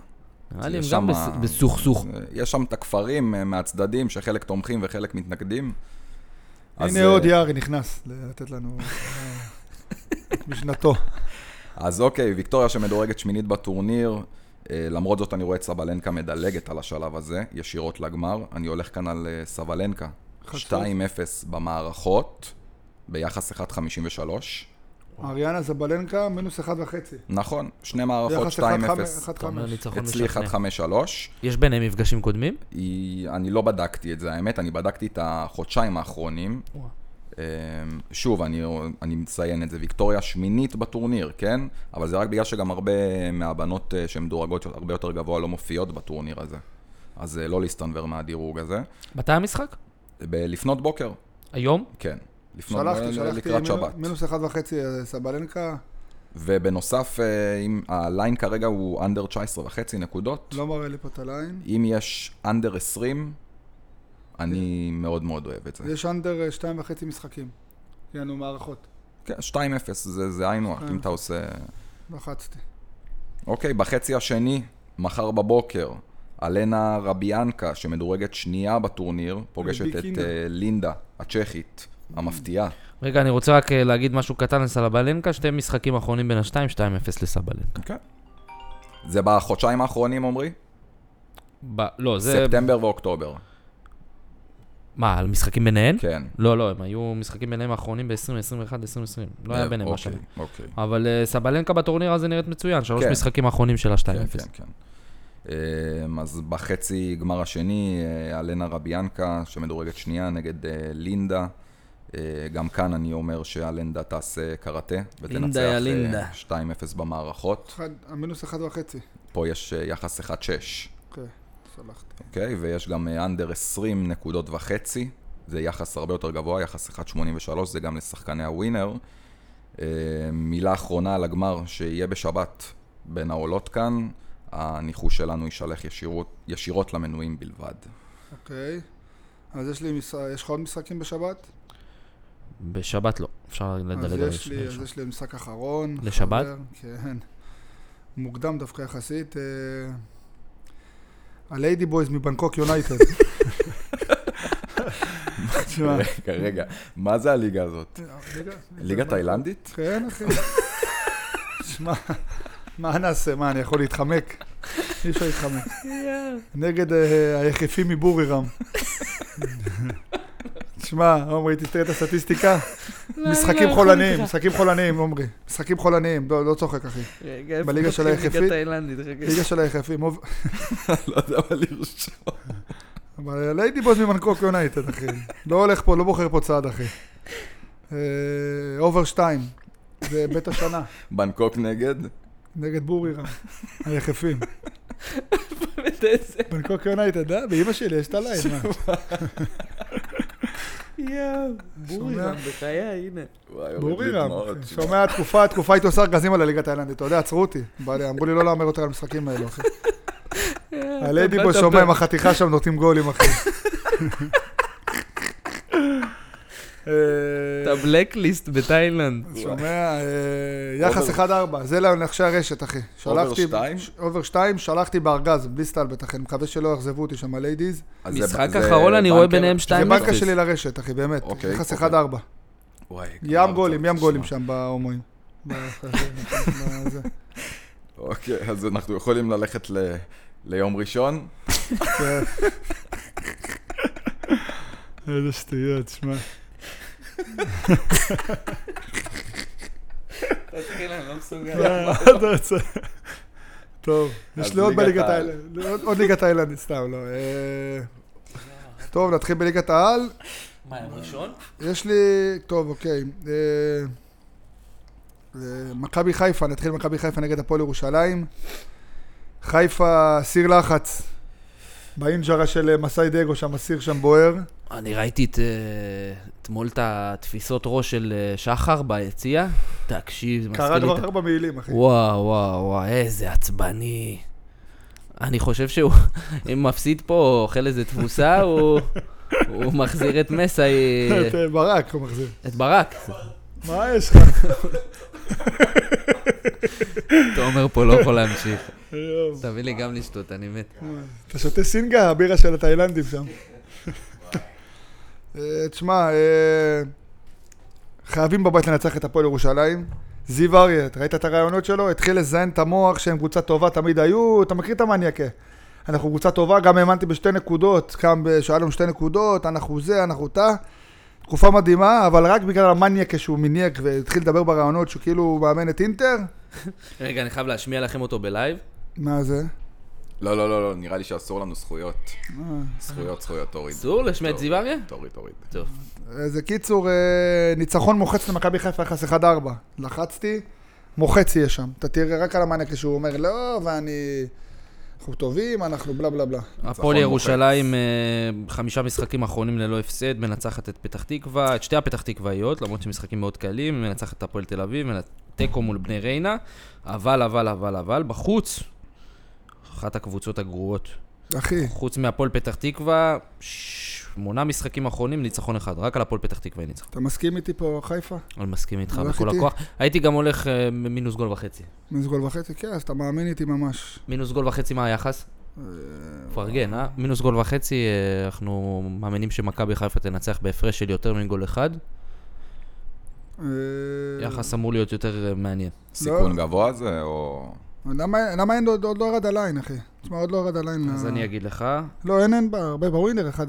נראה לי הם יש גם שמה- בס- בסוכסוך. אה, יש שם את הכפרים אה, מהצדדים, שחלק תומכים וחלק מתנגדים. אז, הנה אה, עוד יערי נכנס לתת לנו אה, את משנתו. אז אוקיי, ויקטוריה שמדורגת שמינית בטורניר. אה, למרות זאת אני רואה את סבלנקה מדלגת על השלב הזה, ישירות לגמר. אני הולך כאן על אה, סבלנקה. חצוף. 2-0 במערכות, ביחס 1.53. אריאנה זבלנקה, מינוס אחד וחצי. נכון, שני מערכות יחס אחד חמש- 2-0. אחד אתה אומר חמש. ניצחון אצלי משכנע. 1.53. יש ביניהם מפגשים קודמים? היא, אני לא בדקתי את זה, האמת, אני בדקתי את החודשיים האחרונים. וואו. אמ, שוב, אני, אני מציין את זה, ויקטוריה שמינית בטורניר, כן? אבל זה רק בגלל שגם הרבה מהבנות אה, שהן מדורגות הרבה יותר גבוה לא מופיעות בטורניר הזה. אז אה, לא להסתנוור מהדירוג הזה. מתי המשחק? ב- לפנות בוקר, היום? כן. לפנות שלחתי, ב- שלחתי, לקראת מינוס- שבת. מינוס אחד וחצי אה, סבלנקה, ובנוסף, אה, אם הליין כרגע הוא אנדר 19 וחצי נקודות. לא מראה לי פה את הליין. אם יש אנדר 20, אני מאוד מאוד אוהב את זה. יש אנדר אה, שתיים וחצי משחקים. יענו מערכות. כן, 2-0, זה זה היינו הך, אם אתה עושה... לחצתי. אוקיי, בחצי השני, מחר בבוקר, אלנה רביאנקה, שמדורגת שנייה בטורניר, פוגשת את רביקינדה. אה, לינדה, הצ'כית, המפתיעה. רגע, אני רוצה רק אה, להגיד משהו קטן על סבלנקה, שתי משחקים אחרונים בין השתיים, 2-0 לסבלנקה. כן. זה בחודשיים האחרונים, עמרי? ב- לא, זה... ספטמבר ואוקטובר. מה, על משחקים ביניהן? כן. לא, לא, הם היו משחקים ביניהם האחרונים ב-2021, 2020. לא היה ביניהם אוקיי, משהו. אוקיי. אבל אה, סבלנקה בטורניר הזה נראית מצוין, שלוש כן. משחקים האחרונים של כן, ה-2-0. כן, כן. אמ, אז בחצי גמר השני, אה, אלנה רביאנקה, שמדורגת שנייה, נגד אה, לינדה. אה, גם כאן אני אומר שאלנדה תעשה קראטה, ותנצח לינדה יא אה, לינדה. 2-0 במערכות. אחד, המינוס אחד וחצי. פה יש אה, יחס 1-6, אוקיי, שלחתי. אוקיי? ויש גם אה, אנדר 20 נקודות וחצי, זה יחס הרבה יותר גבוה, יחס 1.83, זה גם לשחקני הווינר. אה, מילה אחרונה על הגמר, שיהיה בשבת בין העולות כאן, הניחוש שלנו יישלח ישירות, ישירות למנויים בלבד. אוקיי. אז יש לי, מש- יש לך עוד משחקים בשבת? בשבת לא, אפשר אז לדלג על יש לי, השני. אז יש לי משחק אחרון. לשבת? חבר, כן. מוקדם דווקא יחסית. אה, הליידי בויז מבנקוק יונייטד. תשמע, רגע, רגע, מה זה הליגה הזאת? ליגה- ליגה תאילנדית? כן, אחי. שמע, מה נעשה? מה, אני יכול להתחמק? אי אפשר להתחמק. נגד אה, היחפים מבורירם. שמע, עומרי, תסתכל את הסטטיסטיקה. משחקים חולניים, משחקים חולניים, עומרי. משחקים חולניים, לא לא צוחק, אחי. בליגה של היחפים. ליגה של היחפים. מוב- לא יודע מה לרשום. אבל ליידי בוז ממנקוק יונייטד, אחי. לא הולך פה, לא בוחר פה צעד, אחי. אה, אובר שתיים. זה בית השנה. בנקוק נגד? נגד בורירם, היחפים. בנקוק יונייטד, אה? באמא שלי יש את הליין, מה? יואו, בורירם, בחיי, הנה. וואי, יורד לי בורירם, דמעות, אחי. שמע. כן. שומע, תקופה, תקופה הייתי עושה ארגזים על הליגה התאילנדית, אתה יודע, עצרו אותי. בא לי, אמרו לי לא להמר יותר על המשחקים האלו, אחי. הליידי בו שומע עם החתיכה שם נותנים גולים, אחי. אה, אתה בלקליסט בתאילנד. שומע, אה, יחס 1-4, זה לאנשי הרשת, אחי. שלחתי- שתיים? ש- אובר 2, שלחתי בארגז, בלי סטלבט, אחי. אני מקווה שלא יאכזבו אותי שם, הליידיז. אז זה- משחק זה אחרון, אני רואה בנקר? ביניהם זה 2 בנקה שלי לרשת, אחי, באמת. אוקיי, יחס אוקיי. 1-4. וואי, גמרת ים גולים, אותי, ים גולים תשמע. שם בהומואים. ב- בזה. אוקיי, אז אנחנו יכולים ללכת ל- ליום ראשון. כן. איזה שטויות, שמע. לא אה, מה אתה רוצה? טוב, יש כן. אז לי עוד ליגת בליגת העל. האילנד, עוד- עוד ליגת האילנדית, סתם, לא. אה, טוב, נתחיל בליגת העל. מה, יום ראשון? יש לי, טוב, אוקיי. אה, אה, מכבי חיפה, נתחיל במכבי חיפה נגד הפועל ירושלים. חיפה, סיר לחץ. באינג'רה של אה, מסאי דגו, שם הסיר שם בוער. אני ראיתי את, אה, אתמול את התפיסות ראש של אה, שחר ביציע. תקשיב, זה מזכיר קרה לי את... כבר ארבע מעילים, אחי. וואו, וואו, וואו, איזה עצבני. אני חושב שהוא, אם מפסיד פה, או אוכל איזה תבוסה, הוא, הוא מחזיר את מסאי, את אה, ברק הוא מחזיר. את ברק. מה יש לך? תומר פה לא יכול להמשיך. יואו. תביא לי גם לשתות, אני מת. אתה שותה סינגה, הבירה של התאילנדים שם. אה, תשמע, אה, חייבים בבית לנצח את הפועל ירושלים. זיו אריה, אתה ראית את הרעיונות שלו? התחיל לזיין את המוח שהם קבוצה טובה, תמיד היו, אתה מכיר את המניאקה. אנחנו קבוצה טובה, גם האמנתי בשתי נקודות, קם, ב- שהיה לנו שתי נקודות, אנחנו זה, אנחנו תא. תקופה מדהימה, אבל רק בגלל המניאקה שהוא מניאק והתחיל לדבר ברעיונות שהוא כאילו מאמן את אינטר. רגע, אני חייב להשמיע לכם אותו בלייב. מה זה? לא, לא, לא, לא, נראה לי שאסור לנו זכויות. זכויות, זכויות, תוריד. אסור להשמיע את זיו אריה? תוריד, תוריד. טוב. אז קיצור, אה, ניצחון מוחץ למכבי חיפה, יחס 1-4. לחצתי, מוחץ יהיה שם. אתה תראה רק על המענק שהוא אומר, לא, ואני... אנחנו טובים, אנחנו בלה בלה בלה. הפועל ירושלים, אה, חמישה משחקים אחרונים ללא הפסד, מנצחת את פתח תקווה, את שתי הפתח תקוואיות, למרות שמשחקים מאוד קלים, מנצחת את הפועל תל אביב, מנ- תיקו מול בני ריינה, אבל, אבל, אבל, אבל, בחוץ, אחת הקבוצות הגרועות. אחי, חוץ מהפועל פתח תקווה, שמונה משחקים אחרונים, ניצחון אחד, רק על הפועל פתח תקווה היא ניצחה. אתה מסכים איתי פה, חיפה? אני מסכים איתך הלך בכל איתי. הכוח. הייתי גם הולך אה, מינוס גול וחצי. מינוס גול וחצי? כן, אז אתה מאמין איתי ממש. אה, מינוס גול וחצי מה היחס? פרגן, אה? מינוס גול וחצי, אה, אנחנו מאמינים שמכבי חיפה תנצח בהפרש של יותר מגול אחד. אה, יחס אמור להיות יותר אה, מעניין. לא. סיכון גבוה זה, או... למה למה אין, עוד עוד לא ירד הליין, אחי? תשמע, עוד לא ירד הליין. אז ל- אני אגיד לך... לא, אין, אין בה הרבה, בווינר 1-4.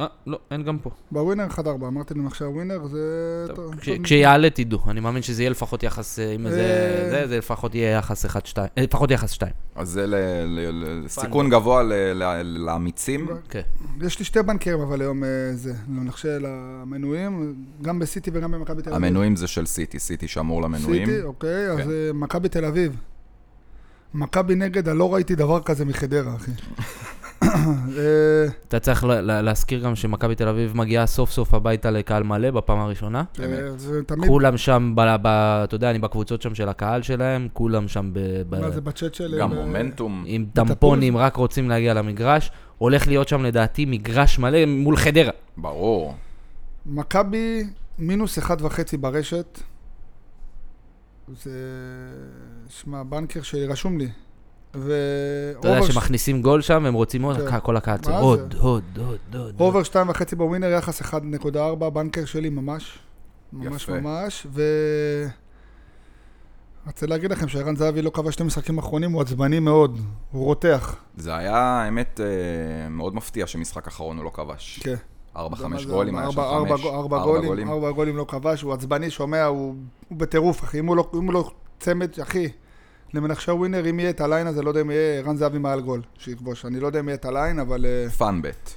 אה, לא, אין גם פה. בווינר 1-4, אמרתי להם עכשיו ווינר, זה... טוב, טוב, כש- טוב. כשיעלה תדעו, אני מאמין שזה יהיה לפחות יחס, אה, אם זה, אה. זה- זה לפחות יהיה יחס 1-2, אה, לפחות יחס 2. אז זה ל- ל- ל- סיכון גבוה ל- ל- לאמיצים. כן. יש לי שתי בנקרים אבל היום אה, זה, לנחשל למנויים, גם בסיטי וגם במכבי תל אביב. המנויים זה של סיטי, סיטי שמור למנויים. סיטי, אוקיי, אז כן. אה, מכבי תל אביב. מכבי נגד, אני לא ראיתי דבר כזה מחדרה, אחי. אה, אתה צריך לה- לה- להזכיר גם שמכבי תל אביב מגיעה סוף סוף הביתה לקהל מלא בפעם הראשונה. אה, זה תמיד, כולם שם, ב- ב- אתה יודע, אני בקבוצות שם של הקהל שלהם, כולם שם ב- ב- מה זה בצ'אט של... גם אה, מומנטום. עם טמפונים, רק רוצים להגיע למגרש. הולך להיות שם לדעתי מגרש מלא מול חדרה. ברור. מכבי מינוס אחד וחצי ברשת. זה... שמע, בנקר שלי, רשום לי. ו... אתה יודע אובר ש- שמכניסים גול שם, והם רוצים עוד, כן. הק- כל הקהל מה צריך זה? עוד, עוד, עוד, עוד. עוד. אובר שתיים וחצי בווינר, יחס 1.4, בנקר שלי ממש. ממש יפה. ממש, ו... רציתי להגיד לכם שערן זהבי לא קבע שני משחקים אחרונים, הוא עצבני מאוד, הוא רותח. זה היה, האמת, אה, מאוד מפתיע שמשחק אחרון הוא לא כבש. כן. ארבע, מה חמש זה, גולים, היה שם ארבע- ארבע חמש. גו- ארבע גולים, ארבע גולים לא כבש, הוא עצבני, שומע, הוא הוא בטירוף, אחי. אם הוא לא- אם הוא לא צמד, אחי, למנחשי ווינר, אם יהיה את הליין הזה, לא יודע אם יהיה ערן זהבי מעל גול, שיכבוש. אני לא יודע אם יהיה את הליין, אבל... אה, פאנבט.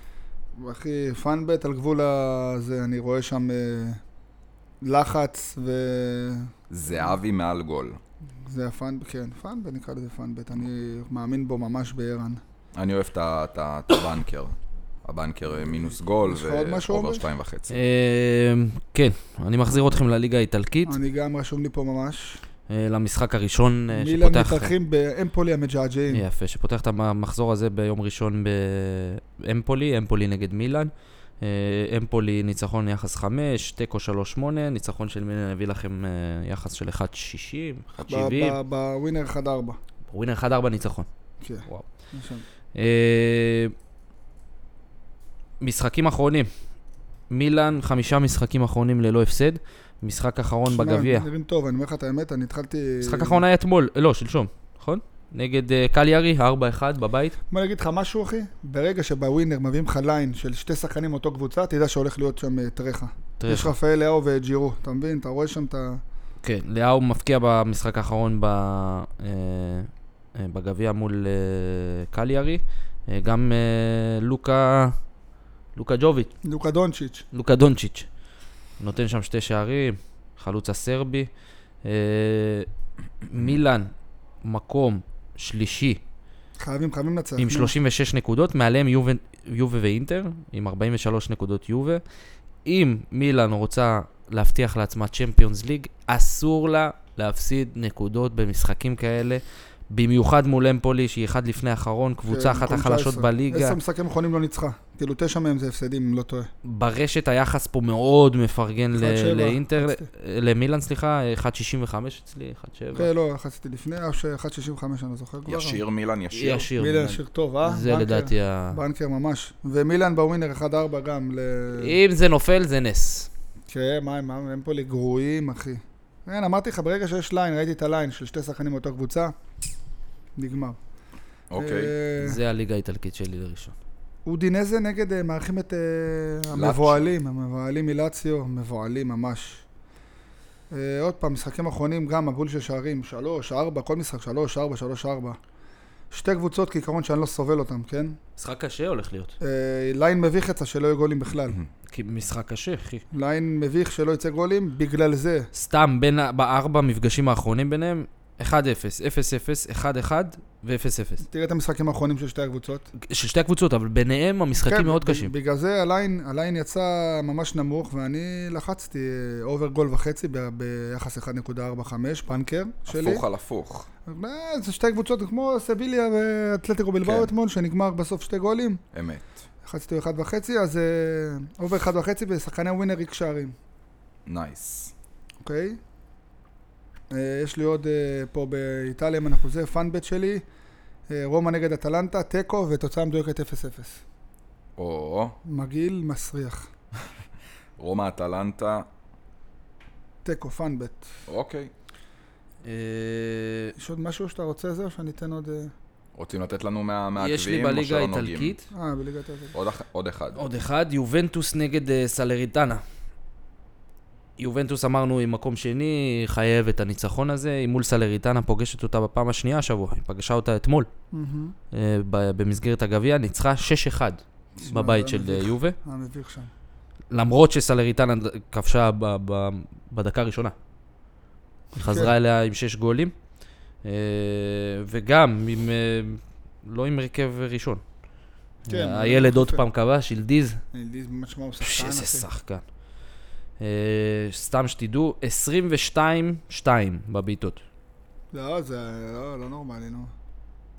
אחי, פאנבט על גבול הזה, אני רואה שם אה, לחץ ו... זהבי מעל גול. זה הפאנבט, כן, פאנבט, נקרא לזה פאנבט, אני מאמין בו ממש בערן. אני אוהב את ה- את ה- את הבנקר. הבנקר אה, מינוס גול, יש לך עוד משהו, ואובר עומר? שתיים וחצי. אה, כן, אני מחזיר אתכם לליגה האיטלקית, אני גם רשום לי פה ממש. אה, למשחק הראשון אה, מילאן שפותח... מתארחים באמפולי המג'עג'עים. יפה, שפותח את המחזור הזה ביום ראשון באמפולי, אמפולי נגד מילאן. אה, אמפולי ניצחון יחס 5, תיקו 3-8, ניצחון של מילן הביא לכם אה, יחס של 1.60, 1.70, בווינר 1-4. ווינר 1-4 ניצחון. כן. וואו. נכון. אה, משחקים אחרונים. מילאן, חמישה משחקים אחרונים ללא הפסד. משחק אחרון שמע, אה, בגביע. הם נראים טוב, אני אומר לך את האמת, אני התחלתי... משחק אחרון היה אתמול, אה, לא, שלשום, נכון? נגד אה, קליארי, 4-1 בבית. מה אני אגיד לך משהו, אחי? ברגע שבווינר מביאים לך ליין של שתי שחקנים מאותו קבוצה, תדע שהולך להיות שם אה, טרחה. יש רפאל לאו וג'ירו, אתה מבין? אתה רואה שם את ה... כן, לאהו מפקיע במשחק האחרון ב... אה, אה, בגביע מול אה, קליארי. אה, גם אה, לוקה... לוקה ג'וביץ', לוקה דונצ'יץ'. לוקה דונצ'יץ'. נותן שם שתי שערים, חלוץ הסרבי. אה, מילאן, מקום שלישי חייבים, חייבים לנצח. עם נו. 36 נקודות, מעליהם יובה, יובה ואינטר, עם 43 נקודות יובה. אם מילאן רוצה להבטיח לעצמה צ'מפיונס ליג, אסור לה להפסיד נקודות במשחקים כאלה, במיוחד מול אמפולי, שהיא אחד לפני האחרון, קבוצה כן, אחת מקום החלשות 19. בליגה. עשר משחקים אחרונים לא ניצחה. כאילו תשע מהם זה הפסדים, אם לא טועה. ברשת היחס פה מאוד מפרגן ל- 1.7, לאינטר, רציתי. למילאן, סליחה, 1.65 אצלי, 1.7. כן, לא, חציתי לפני, אף ש-1.65 אני לא זוכר כבר. ישיר מילן, ישיר. אה, ישיר. מילן ישיר טוב, אה? זה בנקר. לדעתי ה... בנקר ממש. ומילן בווינר 1-4 גם. ל... אם זה נופל, זה נס. כן, מה הם, הם פה לגרועים, אחי. כן, אמרתי לך, ברגע שיש ליין, ראיתי את הליין של שתי שחקנים מאותה קבוצה, נגמר. אוקיי. אה, זה הליגה האיטלקית שלי לראשון. אודינזה נגד, אה, מארחים את אה, לאציו. המבוהלים, המבוהלים מלאציו, מבוהלים ממש. אה, עוד פעם, משחקים אחרונים, גם מבול של שערים, שלוש, ארבע, כל משחק, שלוש, ארבע, שלוש, ארבע. שתי קבוצות כעיקרון שאני לא סובל אותן, כן? משחק קשה הולך להיות. אה, ליין מביך אצלה שלא יהיו גולים בכלל. כי משחק קשה, אחי. ליין מביך שלא יצא גולים, בגלל זה. סתם, בין ה- בארבע מפגשים האחרונים ביניהם, 1-0, 0-0, 1-1 ו-0-0. תראה את המשחקים האחרונים של שתי הקבוצות. כן, של שתי הקבוצות, אבל ביניהם המשחקים מאוד ב- קשים. בגלל זה הליין, הליין יצא ממש נמוך, ואני לחצתי אה, אובר גול וחצי ב- ביחס 1.45, פנקר שלי. הפוך על הפוך. אה, זה שתי קבוצות, כמו סביליה ואתלטיקו בלבאו כן. אתמול, שנגמר בסוף שתי גולים. אמת. לחצתי אחד וחצי, אז אה, אובר אחד וחצי ושחקני ווינר ריק שערים, נייס. אוקיי? אה, יש לי עוד אה, פה באיטליה, אם אנחנו זה, פאנבט שלי, אה, רומא נגד אטלנטה, תיקו ותוצאה מדויקת 0-0. או, מגעיל, מסריח. רומא אטלנטה. תיקו, פאנבט. אוקיי. אה, יש עוד משהו שאתה רוצה זה, או שאני אתן עוד... אה, רוצים לתת לנו מה- מהעקביים? יש לי או בליגה שלא נוגעים? האיטלקית אה, בליגת הזה. עוד אח- עוד אחד. עוד אחד, יובנטוס נגד אה, סלריטנה. יובנטוס אמרנו היא מקום שני, היא חייבת את הניצחון הזה, היא מול סלריטנה פוגשת אותה בפעם השנייה השבוע, היא פגשה אותה אתמול מהמם. אה, ב- במסגרת הגביע, ניצחה 6-1 תשמע, בבית זה של אה, מביך. יובה. אה, מביך שם. למרות שסלריטנה כבשה ב- ב- בדקה הראשונה. היא כן. חזרה אליה עם שש גולים, אה, וגם עם... אה, לא עם הרכב ראשון. כן, אה, הילד עוד כן. פעם כבש, הילדיז, אני ממש מה הוא פש, שחקן, איזה אחי. שחקן. אה, סתם שתדעו, 22-2 בבעיטות. לא, זה לא, לא נורמלי, נו.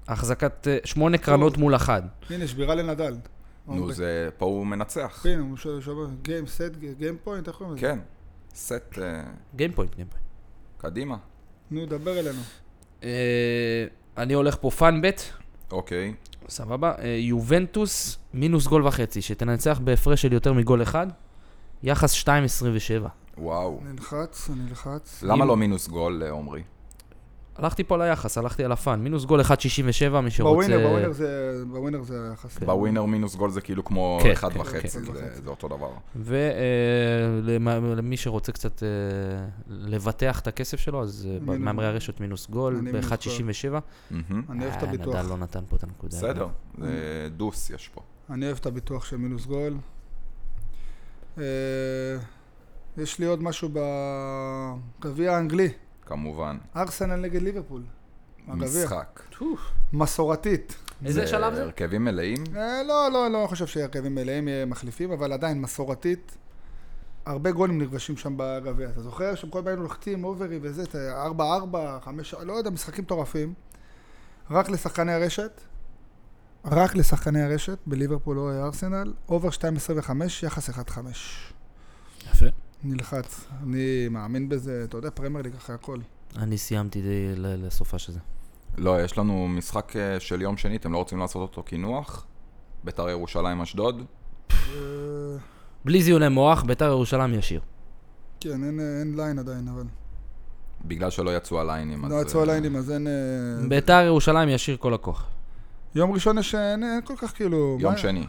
החזקת אה, שמונה קרנות מול אחד. הנה, שבירה לנדל. נו, זה... פה הוא מנצח. הנה, הוא שובר גיים סט, גיים פוינט, איך קוראים לזה? כן. סט אה, גיימפוינט, גיימפוינט. קדימה. נו, דבר אלינו. אה, אני הולך פה פאנבט. אוקיי. סבבה, אה, יובנטוס מינוס גול וחצי, שתנצח בהפרש של יותר מגול אחד, יחס 2.27. אה, וואו. נלחץ, אני נלחץ. למה אם- לא מינוס גול, אה, עומרי? כן. הלכתי פה על היחס, הלכתי על הפאן, מינוס גול 1.67, לא, מי שרוצה... בווינר, בווינר זה, בווינר זה היחס. בווינר מינוס גול זה כאילו כמו כן, אחד כן, וחצי, כן. זה- זה אותו דבר. ולמי אה, שרוצה קצת אה, לבטח את הכסף שלו, אז אה, מינוס- במאמרי הרשת מינוס גול, לא- אני מינוס גול. ב-1.67. מהמם. אני אוהב את הביטוח. נדל לא נתן פה את הנקודה. בסדר, זה דוס יש פה. אני אוהב את הביטוח של מינוס גול. אה, יש לי עוד משהו בגביע האנגלי. כמובן. ארסנל נגד ליברפול. הגביע. משחק. מסורתית. איזה שלב זה? הרכבים מלאים? אה, לא, לא, לא חושב שהרכבים מלאים יהיה מחליפים, אבל עדיין מסורתית. הרבה גולים נרגשים שם בגביע. אתה זוכר שהם כל פעם היינו לוחצים אוברי וזה, את ה- 4-4, 5, לא יודע, משחקים מטורפים. רק לשחקני הרשת. רק לשחקני הרשת, בליברפול או ארסנל, אובר 2.25, יחס 1.5. יפה. נלחץ, אני מאמין בזה, אתה יודע, פרמייר ליג אחרי הכל. אני סיימתי די ל- לסופה של זה. לא, יש לנו משחק אה, של יום שני, אתם לא רוצים לעשות אותו קינוח? ביתר ירושלים אשדוד? אה, בלי זיוני מוח, ביתר ירושלים ישיר. כן, אין- אין ליין עדיין, אבל... בגלל שלא יצאו הליינים. אז, לא יצאו אה, הליינים, אז אין... אה, ביתר ירושלים ישיר כל הכוח. יום ראשון יש... אה, אין אין כל כך כאילו... יום מה- שני.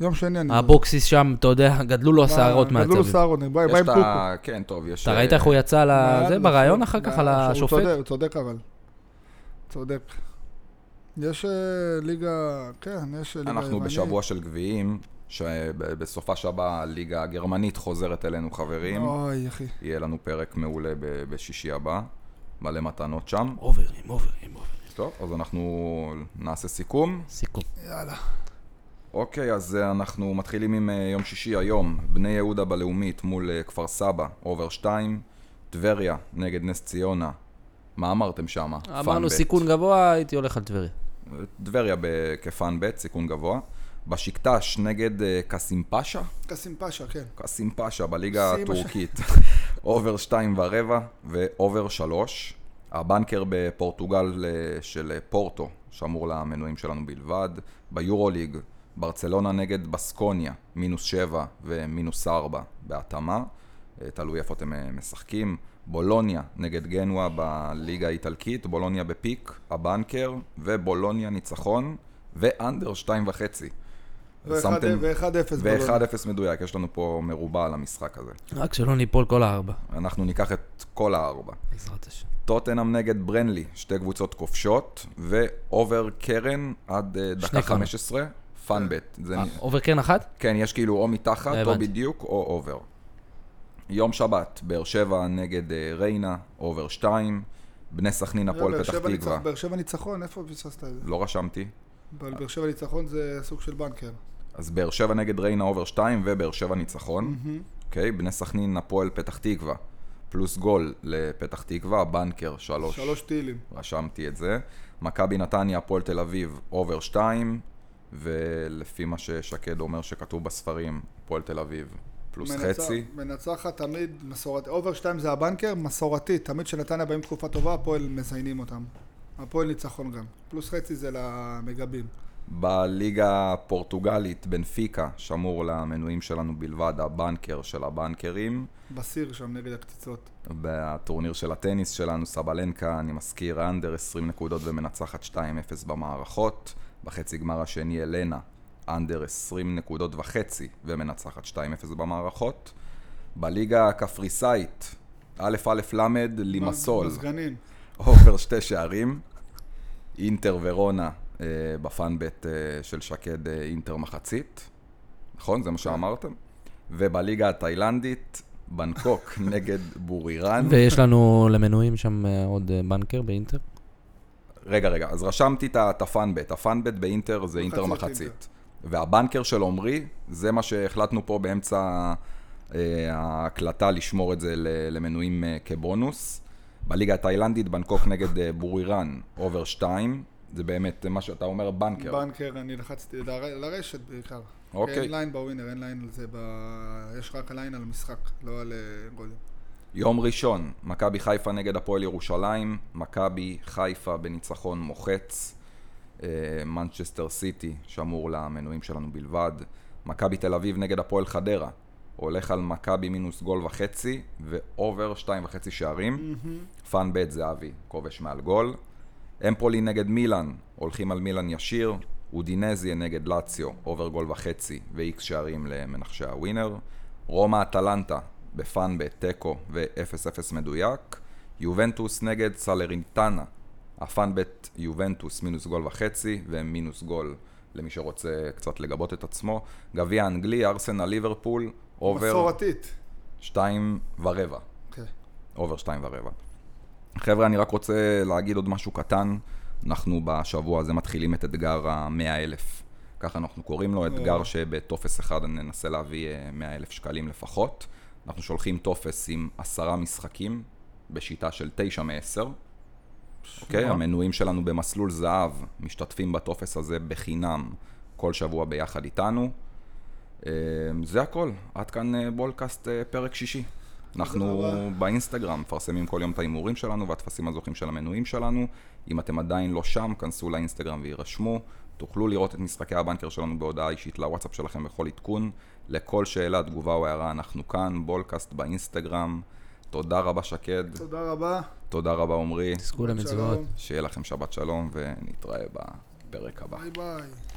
יום שני. אני- לא- הבוקסיס שם, אתה יודע, גדלו לו מה, השערות לא, גדלו לו מהצבים. שערות, אני בא בא יש עם את ה- קוקו. כן, טוב, יש... אתה אה, ראית איך הוא יצא מה, לזה לא, בריאיון לא, אחר כך לא, על הוא השופט? צודק, הוא צודק אבל. צודק. יש אה, ליגה... כן, יש אה, ליגה אנחנו יוונית. בשבוע של גביעים, שבסופה שבה הליגה הגרמנית חוזרת אלינו, חברים. אוי, אחי. יהיה לנו פרק מעולה ב- בשישי הבא. מלא מתנות שם. אוברים, אוברים, אוברים. טוב, אז אנחנו נעשה סיכום. סיכום. יאללה. אוקיי, אז אה, אנחנו מתחילים עם אה, יום שישי היום. בני יהודה בלאומית מול אה, כפר סבא, אובר 2. טבריה נגד נס ציונה. מה אמרתם שם? אמרנו סיכון גבוה, הייתי הולך על טבריה. טבריה ב- כפאן ב', סיכון גבוה. בשקטש נגד אה, קאסים פאשה? קאסים פאשה, כן. קאסים פאשה בליגה קאסים פאשה. הטורקית. אובר שתיים ורבע ואובר שלוש. הבנקר בפורטוגל אה, של אה, פורטו, שאמור למנויים שלנו בלבד. ביורוליג, ברצלונה נגד בסקוניה, מינוס שבע ומינוס ארבע בהתאמה. אה, תלוי איפה אתם אה, משחקים. בולוניה נגד גנואה בליגה האיטלקית, בולוניה בפיק, הבנקר ובולוניה ניצחון ואנדר שתיים וחצי. אה, שמתם- ו-1-0. ו-1-0 מדויק, יש לנו פה מרובע על המשחק הזה. רק שלא ניפול כל הארבע. אנחנו ניקח את כל הארבע. בעזרת השם. טוטנאם נגד ברנלי, שתי קבוצות כובשות, ואובר קרן עד אה, דקה שני קרנות. 15, פאנבט. זה- אה, אובר קרן אחת? כן, יש כאילו או לא מתחת, או הבנתי. בדיוק, או אובר. יום שבת, באר שבע נגד אה, ריינה, אובר 2, בני סכנין הפועל פתח תקווה. לא, אה, באר שבע ניצחון, איפה ביססת את זה? לא רשמתי. אבל באר שבע ניצחון זה סוג של בנקר. אז באר שבע נגד ריינה אובר 2 ובאר שבע ניצחון. אוקיי, בני סכנין, הפועל פתח תקווה, פלוס גול לפתח תקווה, בנקר 3, שלוש טילים. רשמתי את זה. מכבי נתניה, הפועל תל אביב, אובר 2, ולפי מה ששקד אומר שכתוב בספרים, הפועל תל אביב, פלוס מנצח- חצי. מנצחת תמיד מסורת... אובר 2 זה הבנקר, מסורתי. תמיד כשנתניה באים תקופה טובה, הפועל מזיינים אותם. הפועל ניצחון גם. פלוס חצי זה למגבים. בליגה הפורטוגלית, בנפיקה, שמור למנויים שלנו בלבד, הבנקר של הבנקרים. בסיר שם נגד הקציצות. בטורניר של הטניס שלנו, סבלנקה, אני מזכיר, אנדר 20 נקודות ומנצחת 2-0 במערכות. בחצי גמר השני, אלנה, אנדר 20 נקודות וחצי ומנצחת 2-0 במערכות. בליגה הקפריסאית, א' א' ל', לימסול, מזגנים. אובר שתי שערים. אינטר ורונה אה, בפאנבט אה, של שקד אה, אינטר מחצית. נכון? זה מה שאמרתם? ובליגה התאילנדית, בנקוק נגד בורירן. ויש לנו למנויים שם אה, עוד אה, בנקר באינטר. רגע, רגע, אז רשמתי את ה- את הפאנבט. הפאנבט באינטר זה אינטר מחצית מחצית. והבנקר של עומרי, זה מה שהחלטנו פה באמצע אה, ההקלטה, לשמור את זה ל- למנויים אה, כבונוס. בליגה התאילנדית, בנקוק נגד אה, בורירן, אובר 2. זה באמת אה, מה שאתה אומר, בנקר. בנקר, אני לחצתי ל- לרשת בעיקר. אוקיי. אין ליין בווינר, אין ליין על זה. ב- יש רק ליין על המשחק, לא על אה, גולים. יום ראשון, מכבי חיפה נגד הפועל ירושלים, מכבי חיפה בניצחון מוחץ, אה, מנצ'סטר סיטי, שאמור למנויים שלנו בלבד, מכבי תל אביב נגד הפועל חדרה, הולך על מכבי מינוס גול וחצי, ואובר שתיים וחצי שערים, פאן בית זהבי, כובש מעל גול, אמפולי נגד מילאן, הולכים על מילאן ישיר, אודינזיה נגד לאציו, אובר גול וחצי ואיקס שערים למנחשי הווינר, רומא אטלנטה, בפאן בתיקו ו-0-0 מדויק, יובנטוס נגד סלרינטנה, הפאן בית יובנטוס מינוס גול וחצי ומינוס גול למי שרוצה קצת לגבות את עצמו, גביע אנגלי, ארסנל ליברפול, אובר מסורתית. שתיים ורבע. אוקיי. אובר שתיים ורבע. חבר'ה, אני רק רוצה להגיד עוד משהו קטן. אנחנו בשבוע הזה מתחילים את אתגר המאה אלף. ככה אנחנו קוראים לו, אתגר שבטופס אחד אני אנסה להביא אה, מאה אלף שקלים לפחות. אנחנו שולחים טופס עם עשרה משחקים, בשיטה של תשע מעשר. נכון. אוקיי? המנויים שלנו במסלול זהב משתתפים בטופס הזה בחינם כל שבוע ביחד איתנו. אה, זה הכל, עד כאן אה, בולקאסט אה, פרק שישי. אנחנו תודה רבה. באינסטגרם מפרסמים כל יום את ההימורים שלנו והטפסים הזוכים של המנויים שלנו. אם אתם עדיין לא שם, כנסו לאינסטגרם ויירשמו. תוכלו לראות את משחקי הבנקר שלנו בהודעה אישית לוואטסאפ שלכם בכל עדכון. לכל שאלה, תגובה או הערה, אנחנו כאן, בולקאסט באינסטגרם. תודה רבה שקד, תודה רבה. תודה רבה עמרי. תזכו למצוות. שלום. שיהיה לכם שבת שלום ונתראה בפרק הבא. ביי ביי.